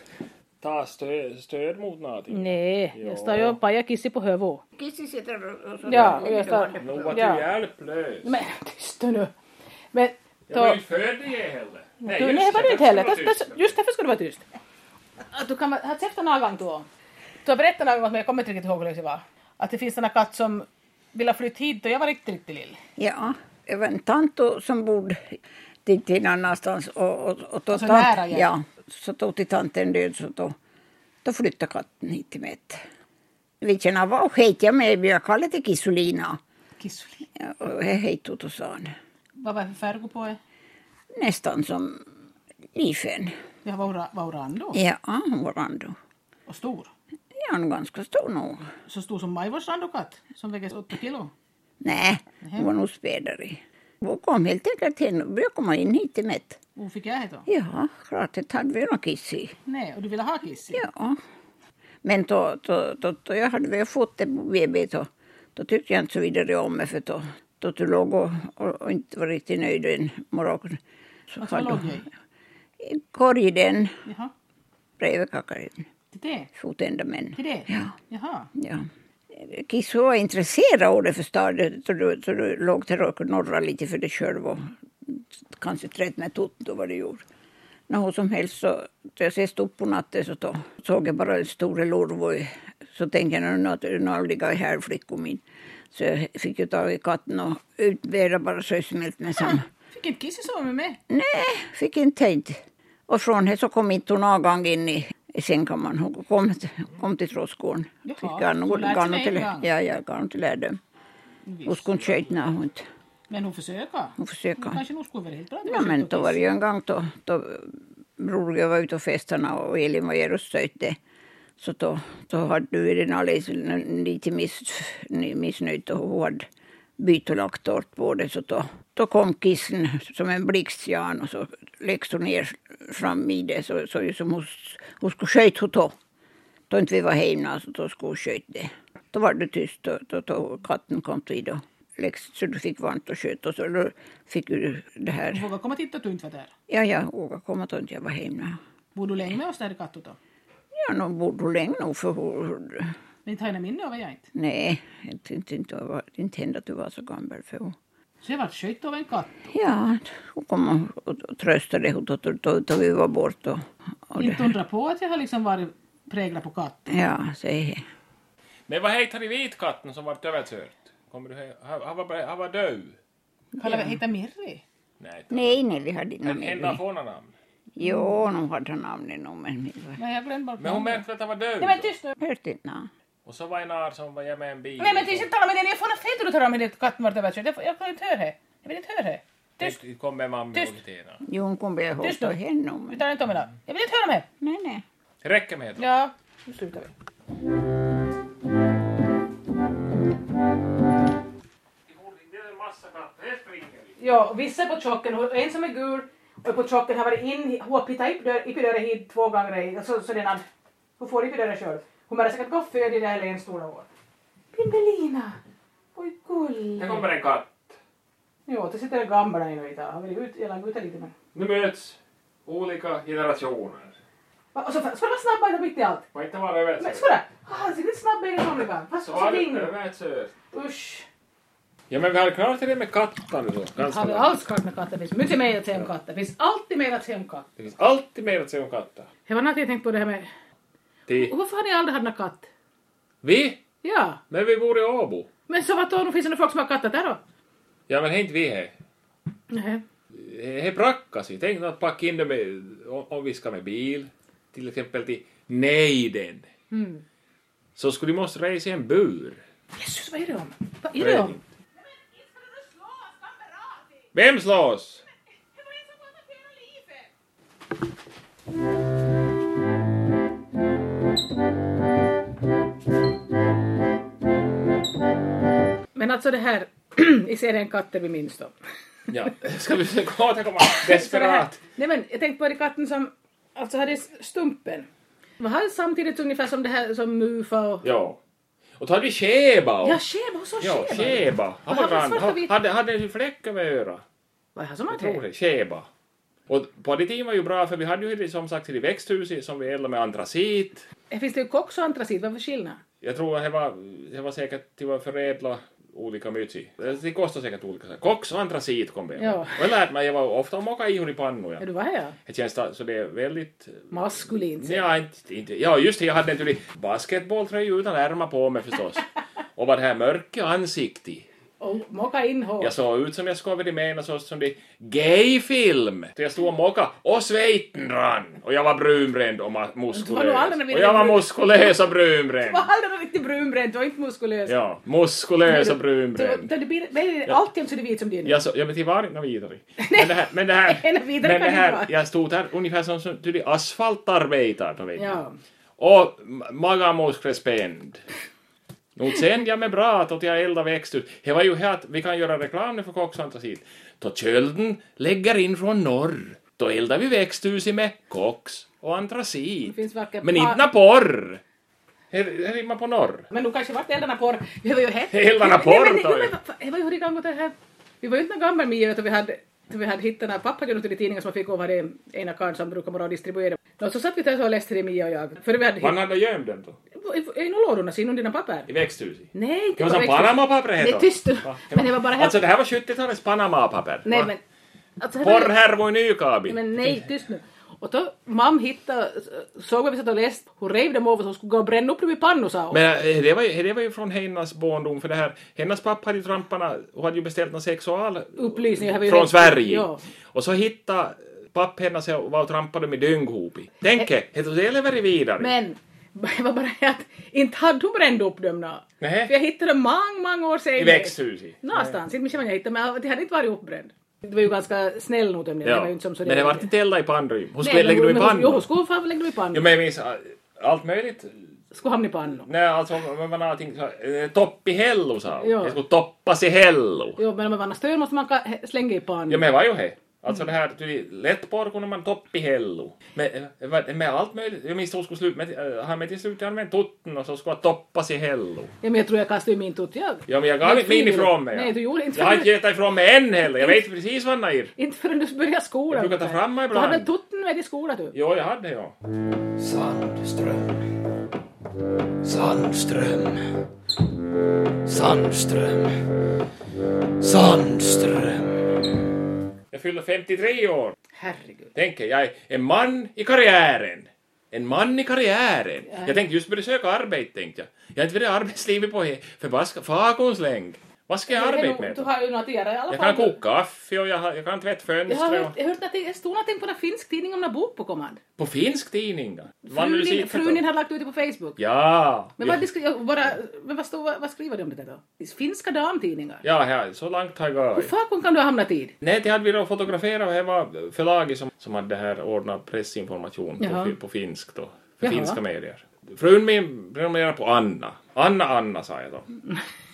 ta stöd, stöd mot någonting.
Nej,
Ja.
jag står ju och pajar kissi på huvudet.
Kissi sitter och... och så
Ja,
där.
jag sa-
De hade-
Nog var du
Ja.
hjälplös.
Men tyst du nu. Men
Jag var
då,
ju född i det heller.
du, nej, var det inte heller. Täs- täs- Just därför ska du vara tyst. Att Ah, du kan vara, har sett en annan gång då? Du har berättat någon gång, men jag kommer inte riktigt ihåg hur det var. Att det finns en katt som ville flytta hit och jag var riktigt, riktigt lill.
Ja, det var en tant som bodde lite till annanstans och, och, och då
Så
tant-
nära igen.
ja, så då till tanten död så då, då flyttade katten hit till mig. Vilken av vad heter jag med? Jag kallade det Kissolina.
Kissolin.
Ja, och jag hette Otto Sahn.
Vad var det för färg på er?
Nästan som Lifen.
Jag var, ora- var orange då.
Ja, hon var ändå.
Och stor.
Ja, hon är ganska stor nog.
Så stor som Majvors randokatt som väger 8 kilo.
Nej, hon var nog spädare. Hon kom helt enkelt hit och brukade komma in hit till mig.
Vad fick jag heta?
Ja, klart det hade vi nog kiss i.
Nej, och du ville ha kissi?
Ja. Men då, då, då, då jag hade väl fått det på BB då, då tyckte jag inte så vidare om mig för då, då du låg och, och, och inte var riktigt nöjd en morgon. Så
Alltså, vad
hade-
låg jag i?
I korgen,
Jaha.
bredvid kakaon,
Till det?
fotändamen.
Till det?
Ja.
Jaha.
ja. Kisso var intresserad av det förstår du, så du, så du låg där och knorrade lite för dig själv och kanske tröttnade ut då vad du gjorde. När hon som helst så, så jag ses upp på natten så då, såg jag bara en stor lorvo. i- Så tänkte jag nu att det nu ligger här flickan min. Så jag fick ju tag i katten och utbära bara så jag smält med samma.
Fick inte kissi sova med mig?
Nej, fick inte tid. Och från det så kom inte hon någon gång in i, i sängkammaren. Hon kom, kom till trädgården.
Jaha,
Fick garn-
hon lärde sig
garn
med
till-
en gång.
Ja, ja, garn till lärdom. Hon skulle inte köta hon inte.
Men hon försöker.
Hon försöker.
Kanske nog skulle vara helt bra. att
Ja,
vi
men
köpte
då var det
kiss.
ju en gång då, då bror jag var ute och festarna och Elin var där och stötte. Så då, då hade du den alldeles lite miss, missnöjd och hon hade bytt och lagt tårt på det. Så då, då kom kissen som en blixtjärn och så läggs hon ner fram i det. Så såg ut som hon, hon skulle skjuta hon då. Då inte vi var hemma så då skulle hon skjuta det. Då var det tyst då, då, då katten kom till och läggs så du fick varmt och sköt och så då fick du det här.
Hon vågar komma och titta att du inte var där.
Ja, jag vågar komma till att jag var hemma.
Bor du länge med oss där i Kattu då?
Ja, nog bodde hon länge nog för hon...
Men inte har jag minne av jag inte.
Nej, jag tänkte inte, jag var- inte hända att du var så gammal för hon...
Så jag vart skött av en katt.
Ja, hon kom och, och, och tröstade hon då, då, då, då vi var borta. Och, och
Inte
det,
undra på att jag har liksom varit präglad på katt.
ja, säg.
Men vad heter den vitkatten som var överkört? Kommer du ihåg? Han han var, han var död.
Kallar vi heta Mirri?
Nej, inte.
Nej, nej, vi hade inga
Men en av
mer.
fåna namn.
Jo, nog hade han namnet nog, men
Nej, jag glömde bort
Men hon märkte att han var död.
Nej men tyst nu!
jag hörde inte något.
Och så var en ar som var med en bil.
Nej men tyst, inte tala med dig! Jag får en fet du talar med din katt Marta Batcher. Jag, får- jag kan inte höra det. Jag vill inte höra det. Tyst!
Det kom med mamma
Tyst.
och Tina.
Jo, hon kommer jag ihåg
Tyst då.
för henne. om-
Vi talar inte om det. Jag vill inte höra om det!
Nej, nej.
Det räcker med det.
Ja, nu slutar vi.
Det är en massa katter, det springer vi.
Ja, och vissa är på chocken och en som är gul och på chocken har varit in, hon har pittat upp dörren- upp i dörren hit två gånger i, och så, så den har, hon får upp i dörren själv. Hon har säkert gått född i det här länet stora år. Bimbelina! Oj
Det
gullig!
kommer en katt.
Ja, det sitter en gammal där inne och hittar. Han vill ut, jag lagt ut lite men.
Nu möts olika generationer.
Va, Och så ska det vara snabba innan mitt i allt.
Får inte vara över
Men skoda! Han ser lite snabb i somliga. Fast så ring. Usch.
Ja men vi har klarat det med kattan då. Ganska
Har vi
bra.
alls klart med katter? Finns mycket mer att säga om katter. Finns alltid mer att säga om katter.
Det finns alltid mer att säga om katter.
Jag var något jag tänkte på det här med...
Ti.
Och varför har ni aldrig haft någon katt?
Vi?
Ja.
Men vi bor i Åbo.
Men så vad då? Nu finns det nog folk som har katter där då?
Ja men inte vi här.
Nej.
Det brackas ju. Tänk att packa in dem med, om om vi ska med bil, till exempel till Nejden.
Mm.
Så skulle de måste resa i en bur.
Jesus, vad är det om? Vad är det om?
Vem slås?
Men alltså det här i serien Katter vi minns då.
Ja, ska vi försöka återkomma?
Så det här-
Desperat.
Nej men jag tänkte på det katten som alltså hade stumpen. Var han samtidigt ungefär som det här som Mufa och...
Ja. Och då hade vi Sheba
Ja,
också.
Sheba, hon sa
Ja,
Sheba.
Sheba. Han
Vad
var
hade
grann.
svarta
Han
vit-
hade, hade ju fläck över örat.
Vad är han som har
Jag tror
det?
det. Sheba. Och på det tiden var ju bra för vi hade ju det, som sagt i växthuset som vi eldade med antracit.
Eh, Finns det ju koks och antracit? Vad är för skillnad?
Jag tror att det var, det var säkert till att förädla olika mytsi. Eh, Det kostar säkert olika saker. Koks och antracit kom det
Ja.
Och jag lärde mig, jag var ofta och mockade ihor i pannor.
Ja,
Ja.
du var här ja.
Det känns da- så det är väldigt...
Maskulint.
Ja, inte, inte, ja just det, jag hade naturligtvis basketbolltröja utan ärmar på mig förstås. Och var det här mörka ansiktet.
Och mocka in hår.
Jag såg ut som jag skulle med någon sorts som det gayfilm. Så jag stod och mockade och svejten rann. Och jag var brunbränd och ma-
Du var nog
muskulös.
aldrig med
Och jag var
brun-
muskulös och
Du
brunbränd.
var aldrig riktigt brunbränd, du var inte muskulös.
Ja, muskulös och
Du,
brunbränd.
du, du blir väldigt alltid så du är vit som du är nu.
Jag så, ja men till var inte vidare. Men det här, men det här,
En vidare
men det
kan det
här
vara.
jag stod där ungefär som, som tydlig asfaltarbetare. då vet ni.
Ja.
Och ma- magamuskler spänd. Nog sände jag mig bra att åt jag elda växthus. Det var ju här att vi kan göra reklam nu för koksfantasit. Då kölden lägger in från norr, då eldar vi växthuset med koks och
Det
antracit.
finns vackert.
Men inte na porr! Här här rimmar på norr.
Men du kanske vart eldarna porr. Vi var ju hett.
Eldarna porr,
Nej, men-
tar vi.
nej, men vad- Det var ju hur igång det här. Vi var ju inte någon gammal miljö utan vi hade då vi hade hittat när pappa gjorde något i tidningen som man fick av var det ena karln som brukar vara och distribuera. Och så satt vi där så och läste det Mia och jag. För vi hade
Man hade gömt den då?
hittat... I några lådorna, ser dina papper?
I växthuset?
Nej, inte
Det var som
växthus.
Panamapapper heter
Nej, tyst du.
Va?
Men det var bara...
Alltså det här var 70-talets Panamapapper.
Nej,
va?
men... Alltså, det var-
Porrhärvor i Nykabi.
Men nej, tyst nu. Och då mam hittade, såg vad vi satt och läste, hon rev dem över så hon skulle gå och bränna upp dem i pannor sa hon.
Men eh, det var, ju, det var ju från hennes barndom, för det här, hennes pappa hade ju tramparna, hon hade ju beställt någon sexual
Upplysning har vi ju
från
redan-
Sverige.
Ja.
Och så hittade pappa hennes och var och trampade med dynghopig. Tänk eh, er, det lever det vidare.
Eh. Men det var bara det att inte hade hon bränt upp dem nå.
Nähä.
För jag hittade dem många, många år senare.
I växthuset.
Någonstans, inte minns jag vad jag hittade men det hade inte varit uppbränd. Det var ju ganska snäll mot dem. Det
Ja.
var ju inte som så
men det
där-
var inte elda i pannrym. Hon skulle
Nej,
lägga
men
dem i
hon- Jo, hon
pannor.
skulle fan lägga dem i
Jo,
pannor.
men jag minns eh, allt möjligt.
Skulle hamna i pannor.
Nej, alltså, vad var någonting, så, eh, topp i hello sa hon.
Ja.
Det skulle toppas i hello.
Jo, men om man vann stör måste man ka- slänga i pannor.
Ja men var ju det. Alltså det här, ty, lättporr kunde man toppa i hello. Med, eh, vad- med allt möjligt. Jag minns hon skulle sluta med, han med till slut använt tutten och så skulle jag toppas i hello.
Ja, men jag tror jag kastade ju min tutt. Jag...
Ja men jag
Men
gav inte min
frivilligt.
ifrån mig.
Nej, du gjorde inte
Jag har
det.
inte gett ifrån mig än heller. Jag vet precis vad han är.
Inte förrän du började skolan.
Jag brukar ta fram mig
Du hade
ibland.
väl tutten med i skolan du?
Jo, jag hade ja.
Sandström. Sandström. Sandström. Sandström.
Jag fyller 53 år.
Herregud.
Tänk er, jag är en man i karriären. En man i karriären. Jag tänkte just börja söka arbete, tänkte jag. Jag har inte varit i arbetslivet på he- förbaskat faguns länge. Vad ska jag
Men det är
arbeta
nog-
med?
Du har ju något att göra i alla
Jag
fall.
kan koka kaffe och jag, har- jag kan tvätta
Jag har
fönster.
hört,
Och...
jag har hört att det stod någonting på en finsk tidning om en bok på kommand.
På finsk tidning då? Vann du
Frunin,
sitt-
frunin hade lagt ut det på Facebook.
Ja.
Men,
ja.
vad, disk- jag bara, men vad, stod, vad, vad skriver de om det där då? Finska damtidningar?
Ja, här, så långt har jag
Hur
gått.
fan kan du ha hamnat i det?
Nej, det hade vi då fotograferat och det var förlaget som, som hade det här ordnat pressinformation
Jaha.
på, på finsk då. För
Jaha.
finska medier. Frun min prenumererade på Anna. Anna, Anna sa jag då.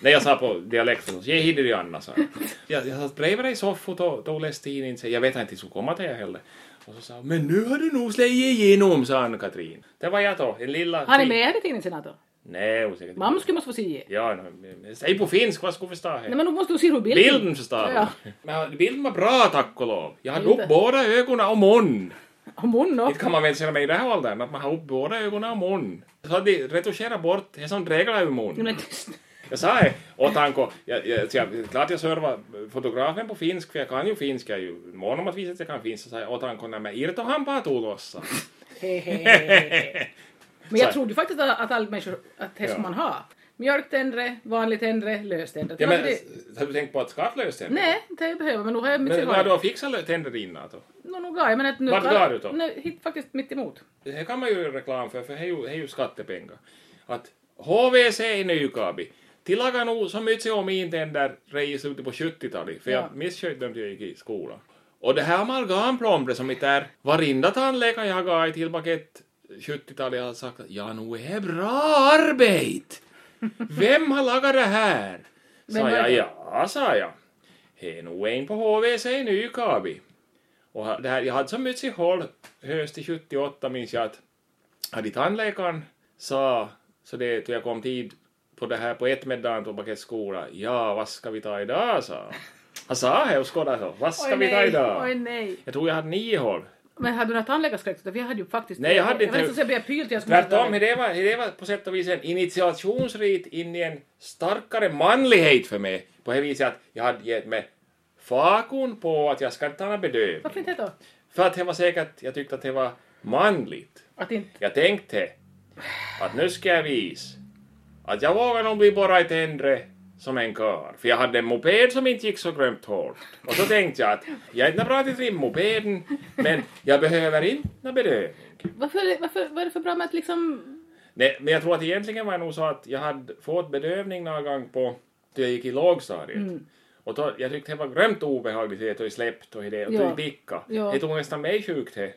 Nej, jag sa på dialekten. så, Jag hidde dig Anna, sa jag. Jag, jag satt bredvid dig i soffan och då läste tidningen. så Jag vet inte, skulle komma till er heller. Och så sa hon, men nu har du nog släppt igenom, sa Ann-Katrin. Det var jag då, en lilla...
Han är med i den tidningen sen då?
Nej, hon säkert
Mamma skulle måste få se.
Ja, nej, men säg på finsk, vad skulle vi stå här?
Nej men nu måste du se hur bilden...
Bilden förstår du.
Ja.
Men bilden var bra tack och lov. Jag hade
Inte.
upp båda ögonen och mun.
Om hon då?
Inte kan man väl säga mig i den här åldern att man har upp båda ögonen och mun. Så hade de retuscherat bort det som dreglar ur mun.
Nej, men tyst.
Jag sa det åt Anko. Jag, jag, så jag, klart jag servar fotografen på finsk för jag kan ju finska. Jag är ju mån om att visa att jag kan finska. Så sa jag åt Anko, nej men irto hampaa tulossa.
Hej, hej, hej, hej. Men
Så.
jag trodde faktiskt att, att alla människor, att det ska
Ja.
man ha. Mjölktändre, vanligt tändre, löständre.
Ja, men,
det,
har du tänkt på att skattlösa tänder?
nej, det jag behöver, men nu har jag mitt
Men vad har
gehör.
du har fixat lö- tänder innan då?
Nå, nu gav jag, men att nu...
Vart gav du då?
Nej, hit, faktiskt mitt emot.
det kan man ju göra reklam för, för det är ju, det är ju skattepengar. Att HVC i Nykabi tillagade nog så mycket om intänder i slutet på 70-talet, för
Ja.
jag misskötte dem till jag gick i skolan. Och det här amalgamplomber som inte är varenda tandläkare jag har gått till paket 70-talet har sagt att ja, nu är det bra arbete! Vem har lagat det här?
Vem
Sa
var
jag,
det?
ja, sa jag. Det är nog en på HVC i Nykabi. Och ha- det här, jag hade så mycket hål höst i 78 minns jag att hade tandläkaren sa, så det då jag kom tid på det här på ett meddagen tillbaka till skolan, ja vad ska vi ta idag sa han. Han sa det och skådade så, vad ska
Oj,
vi ta
nej,
idag?
Oj nej.
Jag tror jag hade nio hål.
Men hade du några tandläkarskräck? För jag hade ju faktiskt...
Nej, jag hade
Jag var
inte-
nästan så jag blev pyl till jag skulle...
Tvärtom, det var, det var på sätt och vis en initiationsrit in i en starkare manlighet för mig på det viset att jag hade gett mig fakon på att jag ska inte ta någon bedövning.
Varför inte det då?
För att det var säkert, jag tyckte att det var manligt.
Att inte...
Jag tänkte att nu ska jag visa att jag vågar nog bli bara ett äldre som en karl. För jag hade en moped som inte gick så grymt hårt. Och så tänkte jag att jag är inte bra till trimmopeden, men jag behöver inte någon bedövning.
Varför, varför, vad är det för bra med att liksom...
Nej, men jag tror att egentligen var det nog så att jag hade fått bedövning någon gång på, då jag gick i lågstadiet.
Mm.
Och då, jag tyckte det var grymt obehagligt det, och jag släppte och det, och
Ja.
jag picka.
Ja.
Det tog nästan mig sjukt det.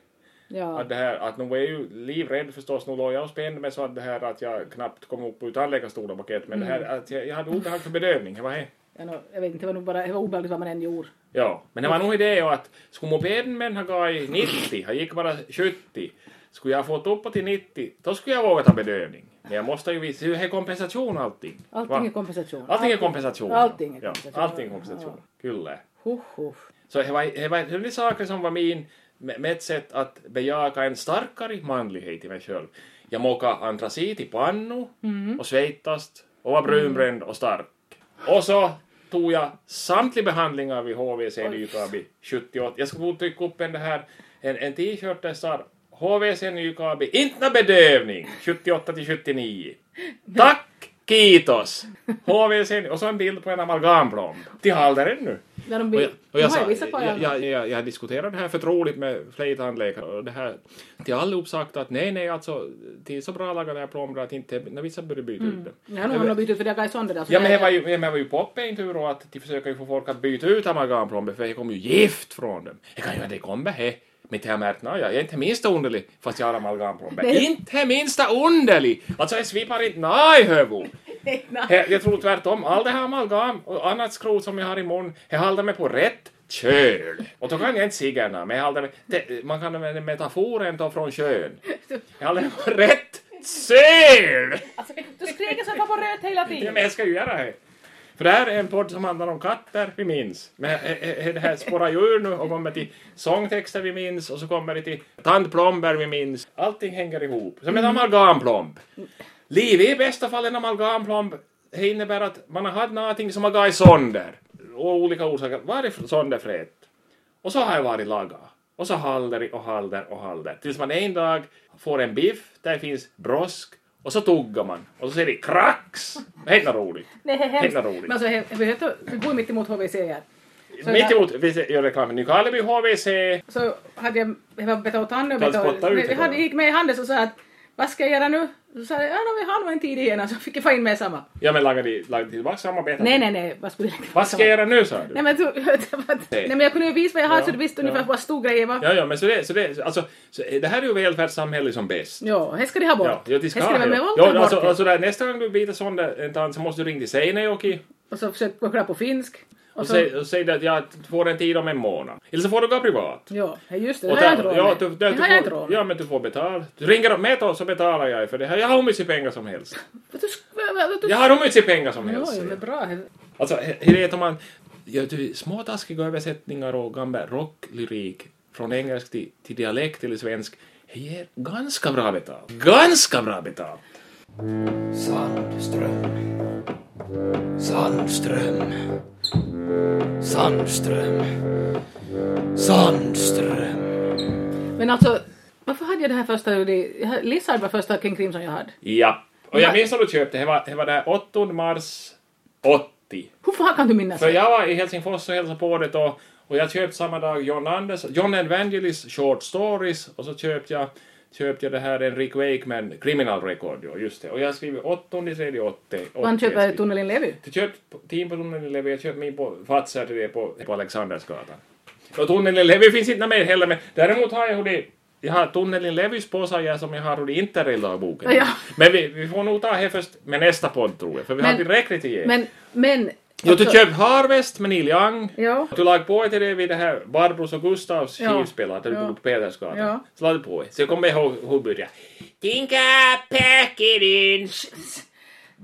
Ja.
Att det här, att nu var jag ju livrädd förstås, nu låg jag och spände mig så att det här att jag knappt kom upp ur tandläkarstolen paket, men det
Mm.
här att jag, jag hade obehag för bedövning, det var det.
Ja, nå, jag vet inte, det var nog bara det var obehagligt vad man än gjorde.
Ja, men det var nog idé ju att skulle mopeden men ha gått i 90, han gick bara 70, skulle jag ha fått uppåt till 90, då skulle jag våga ta bedövning. Men jag måste ju visa, det är kompensation allting.
Allting
Va?
är kompensation.
Allting är kompensation.
Allting är
ja.
kompensation.
Ja, allting är kompensation. Kyllä.
Huh, huh.
Så det var, det var det var saker som var min, med med ett sätt att bejaka en starkare manlighet i mig själv. Jag mockade antracit i pannu och svettast och var brunbränd och stark. Och så tog jag samtliga behandlingar vid HVC Nykabi 78. Jag skulle nog trycka upp en, det här, en, en t-shirt där det står HVC Nykabi, inte någon bedövning, 78 till 79. Tack, kiitos! HVC, och så en bild på en amalgamplomb. Till halder ännu.
Ja, de
Och
blir,
jag, och jag,
de har
sa,
ju vissa på
jag, jag, jag, jag diskuterade det här förtroligt med flera tandläkare och det här till allihop sagt att nej, nej, alltså det är så bra lagade det här plomber att inte när vissa börjar byta ut dem.
Jag har nog hamnat och bytt ut för det har gått sönder där. så
Ja, men
det-
det var ju, men det var ju poppaintur och att de försöker ju få folk att byta ut amalgamplomber för det kommer ju gift från dem. Det kan ju inte komma här. Men det har jag märkt, "Nå, jag är inte minsta underlig fast jag har amalgamplomber.
Nej.
inte minsta underlig! Alltså jag svipar inte nej, hövud.
Nej, nej.
He- Jag tror tvärtom. All det här amalgam och annat skrot som jag har i munnen, jag håller mig på rätt köl. Och då kan jag inte sigarna, men jag håller mig, det, man kan använda metaforen då från kön. Jag håller mig på rätt söl!
Alltså, du skriker så jag får på röt hela
Ja,
tiden.
men jag ska ju göra det. För det här är en podd som handlar om katter, vi minns. Men eh, eh, det här spårar ju ur nu och kommer till sångtexter vi minns och så kommer det till tandplomber vi minns. Allting hänger ihop. Som en amalgamplomb. Liv är i bästa fall en amalgamplomb. Det innebär att man har haft någonting som har gått sönder. Och olika orsaker. Var är sönderfrätt? Och så har jag varit laga. Och så halder och halder och halder. Tills man en dag får en biff där det finns brosk Och så tuggar man. Och så säger det krax! Det är inte roligt.
Nej, det är
Himla
hemskt.
roligt.
Men alltså, det behöver inte gå mitt emot HVC här. Så
Mitt
jag-
emot, vi gör reklam för Nykarleby HVC.
så hade jag, jag var bett åt Anne och
Kan
bett åt,
spotta ut det
jag hade,
bara.
gick med i Handels och sa att vad ska jag göra nu? Så sa jag, ja, no, vi har nog en tid igen, så fick jag få in med samma.
Ja men lagar de, lagar de tillbaka samarbetet?
Nej, nej, nej, vad skulle jag göra?
Vad ska jag göra nu sa du?
Nej men, du, nej, men jag kunde ju visa vad jag hade
Ja,
så du visste
ja.
ungefär vad stor grejen var.
Ja, ja, men så det, så det, alltså, så det här är ju välfärdssamhället som bäst.
Ja, här ska de ha bort.
Ja, ja, de ska
här ska de
ha,
med
ja.
våld ta
ja,
bort
alltså,
det.
alltså där, nästa gång du biter sån där en tand så måste du ringa till Seinejoki
Och så försökte jag kolla på finsk. Och,
och,
så,
säg- och säga att jag får en tid om en månad. Eller så får du gå privat.
ja, hej, just det, det
Och
har jag
där- ja, du,
inte råd med. Det
där,
har jag
du
inte
får,
råd med.
ja, men du får betala. Du ringer upp mig då så betalar jag för det här. Jag har hur mycket pengar som helst.
Men du sk- vad- vad- du-
Jag har hur mycket pengar som helst.
Oj,
säger
men
jag.
bra.
Alltså, he- hur är det om man gör du, små taskiga översättningar och gammal rocklyrik från engelsk till, till dialekt eller svensk? Det ger ganska bra betalt. Ganska bra betalt!
Sandström. Sandström. Sandström. Sandström.
Men alltså, varför hade jag det här första? jag hade- Lizard var första King Crimson jag hade.
Ja. Och jag
Men-
minns när du köpte, det var, det var där 8 mars 80.
Hur fan kan du minnas
För
det?
jag var i Helsingfors och hälsade på det och, och jag köpte samma dag John Anders, John Evangelis short stories och så köpte jag, köpte jag det här Enrique Wakeman criminal record, ja, just det. Och jag skrev 8 3 80.
Man köper Tunnelin Levy.
Du köpte team på Tunnelin Levi, jag köpte min på Fatsar till det på, på Alexandersgatan. Och Tunnelin Levi finns inte med heller, men däremot har jag hur det jag har Tunnelin Levys påsar jag som jag har hur Interrail-dagboken.
Ja.
Men vi, vi får nog ta det först med nästa podd tror jag, för vi har
Men-
tillräckligt i det.
Men, men...
Jo, du
alltså-
köpte Harvest med Neil Young.
Ja.
Du lade på till det vid det här Barbros och Gustavs
Ja.
skivspelare, där du
Ja.
bodde på Petersgatan.
Ja.
Så lade du på det. Så jag kommer ihåg hur det började. Tinka packidins,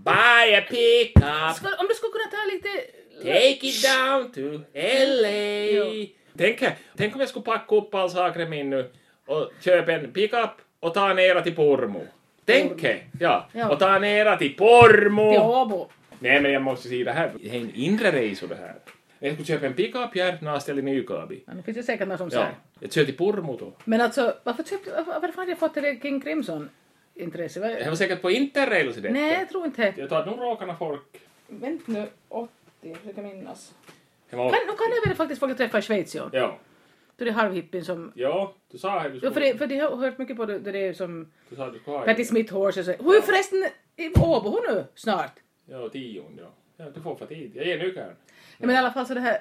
buy a pickup.
Ska, om du skulle kunna ta lite...
Take it down to LA.
Jo.
Tänk, här, tänk om jag skulle packa upp all saker min nu och köpa en pickup och ta nera till Pormo. Tänk här, ja.
Ja.
Och ta nera till Pormo.
Till Åbo.
Nej men jag måste säga det här, det är en inre resa det här. Jag skulle köpa en pickup Järnast eller Nykabi.
Ja, nu finns det säkert någon som
Ja.
säger.
Jag kör till Pormo då.
Men alltså, varför köpte... Varför, varför hade jag fått det King Crimson-intresse? Vad-
Jag var säkert på Interrail så det.
Nej, jag tror inte
Jag tror att nog råkarna folk...
Vänta nu, 80, jag försöker minnas.
Det var-
Kan, nu kan jag väl faktiskt folk jag träffar i Schweiz, ja.
Ja.
Då det är halvhippien som...
Ja, du sa här du
Ja, för,
skulle...
det, för det har jag hört mycket på det, det är som
Du sa att du skulle ha...
Patti Smith Horses. och så. Hon är förresten i Åbo hon nu, snart.
Ja, tion, ja. Ja, du får för tid. Jag ger nykaren.
Ja, men i alla fall så det här...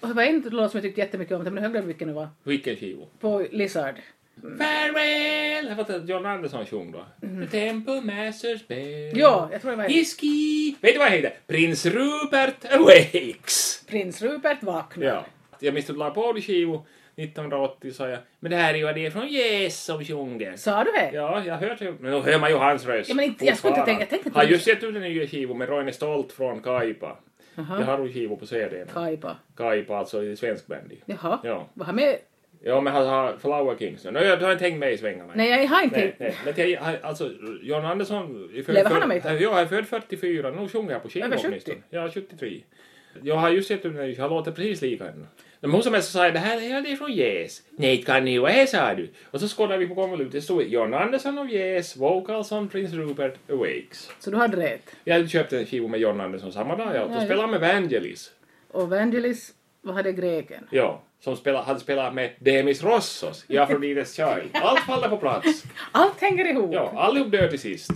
och Det var en låt som jag tyckte jättemycket om, men jag glömde vilken det var.
Vilken skiva?
På Lizard. Mm.
Farewell! Jag fattar att John Andersson sjöng då. The Temple Masters Bell.
Ja, jag tror det var en.
Whiskey! Vet du vad jag heter? Prins Rupert Awakes!
Prins Rupert vaknar.
Ja. Jag minns att la på det skivo 1980 sa jag. Men det här är ju det från Yes som sjunger.
Sa du det?
Ja, jag hörde ju. Men nu hör man ju hans röst.
Ja, men inte- jag skulle inte
fortfarande.
tänka- jag tänkte inte-
Har just sett ut den nya skivan med Roine Stolt från Kaipa. Jag har ju skivo på CD. nu.
Kaipa.
Kaipa, alltså i svensk band.
Jaha.
Ja.
Vad har med...
Ja, men han har Flower Kings nu. Nej, jag har inte hängt med i svängarna.
Nej, jag har inte...
Nej, nej. Men jag, alltså, John Andersson... är född-
Typ. Lever han med?
Ja, jag är född 44. Nu sjunger jag på skiva
Över 70.
åtminstone. Ja, 73. Jag har just sett henne, jag låter precis lika henne. Men hon som helst så sa jag, det här är det från Yes. Nej, det kan ni ju är, sa du. Och så skådade vi på konvolut. Det stod John Andersson av Yes, vocals on Prince Rupert Awakes.
Så du hade rätt.
Jag köpte en skiva med John Andersson samma dag, ja. Då
Nej.
spelade han med Vangelis.
Och Vangelis, vad hade greken?
Ja. Som spelade, hade spelat med Demis Rossos i Aphrodite's Child. Allt faller på plats.
Allt hänger ihop.
Ja, allihop dör till sist.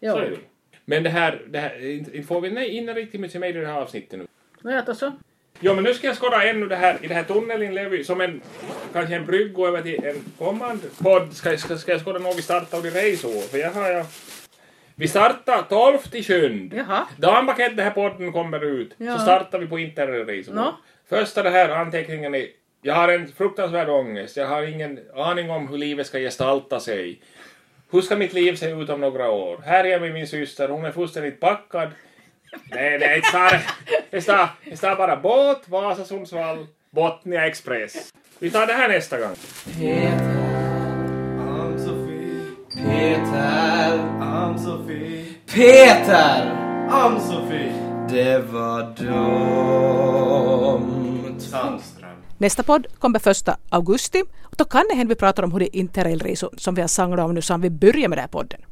Ja.
Så är det. Men det här, det här inte- inte får vi nej, in riktigt mycket mer i det här avsnittet nu.
Nåja, då så.
Ja, men nu ska jag skåda ännu det här, i det här tunneln Levi, som en, kanske en brygga över till en kommande podd. Ska, ska, ska jag skåda när vi startar de resor? För jag har jag... Vi startar 12 till 7.
Jaha.
Dagen bakom den här podden kommer ut
Ja.
så startar vi på interrailresor.
Nå.
Första det här anteckningen är jag har en fruktansvärd ångest. Jag har ingen aning om hur livet ska gestalta sig. Hur ska mitt liv se ut om några år? Här är jag med min syster. Hon är fullständigt packad. Nej, nej, det står- det står- det står bara båt, Vasa, Sundsvall, Botnia Express. Vi tar det här nästa gång.
Peter.
I'm Sophie,
Peter.
I'm Sophie,
Peter!
I'm Sophie
Det var dumt.
Sandström.
Nästa podd kommer första augusti och då kan det hända vi pratar om hur det är interrailresor som vi har sanglat om nu sedan vi började med den här podden.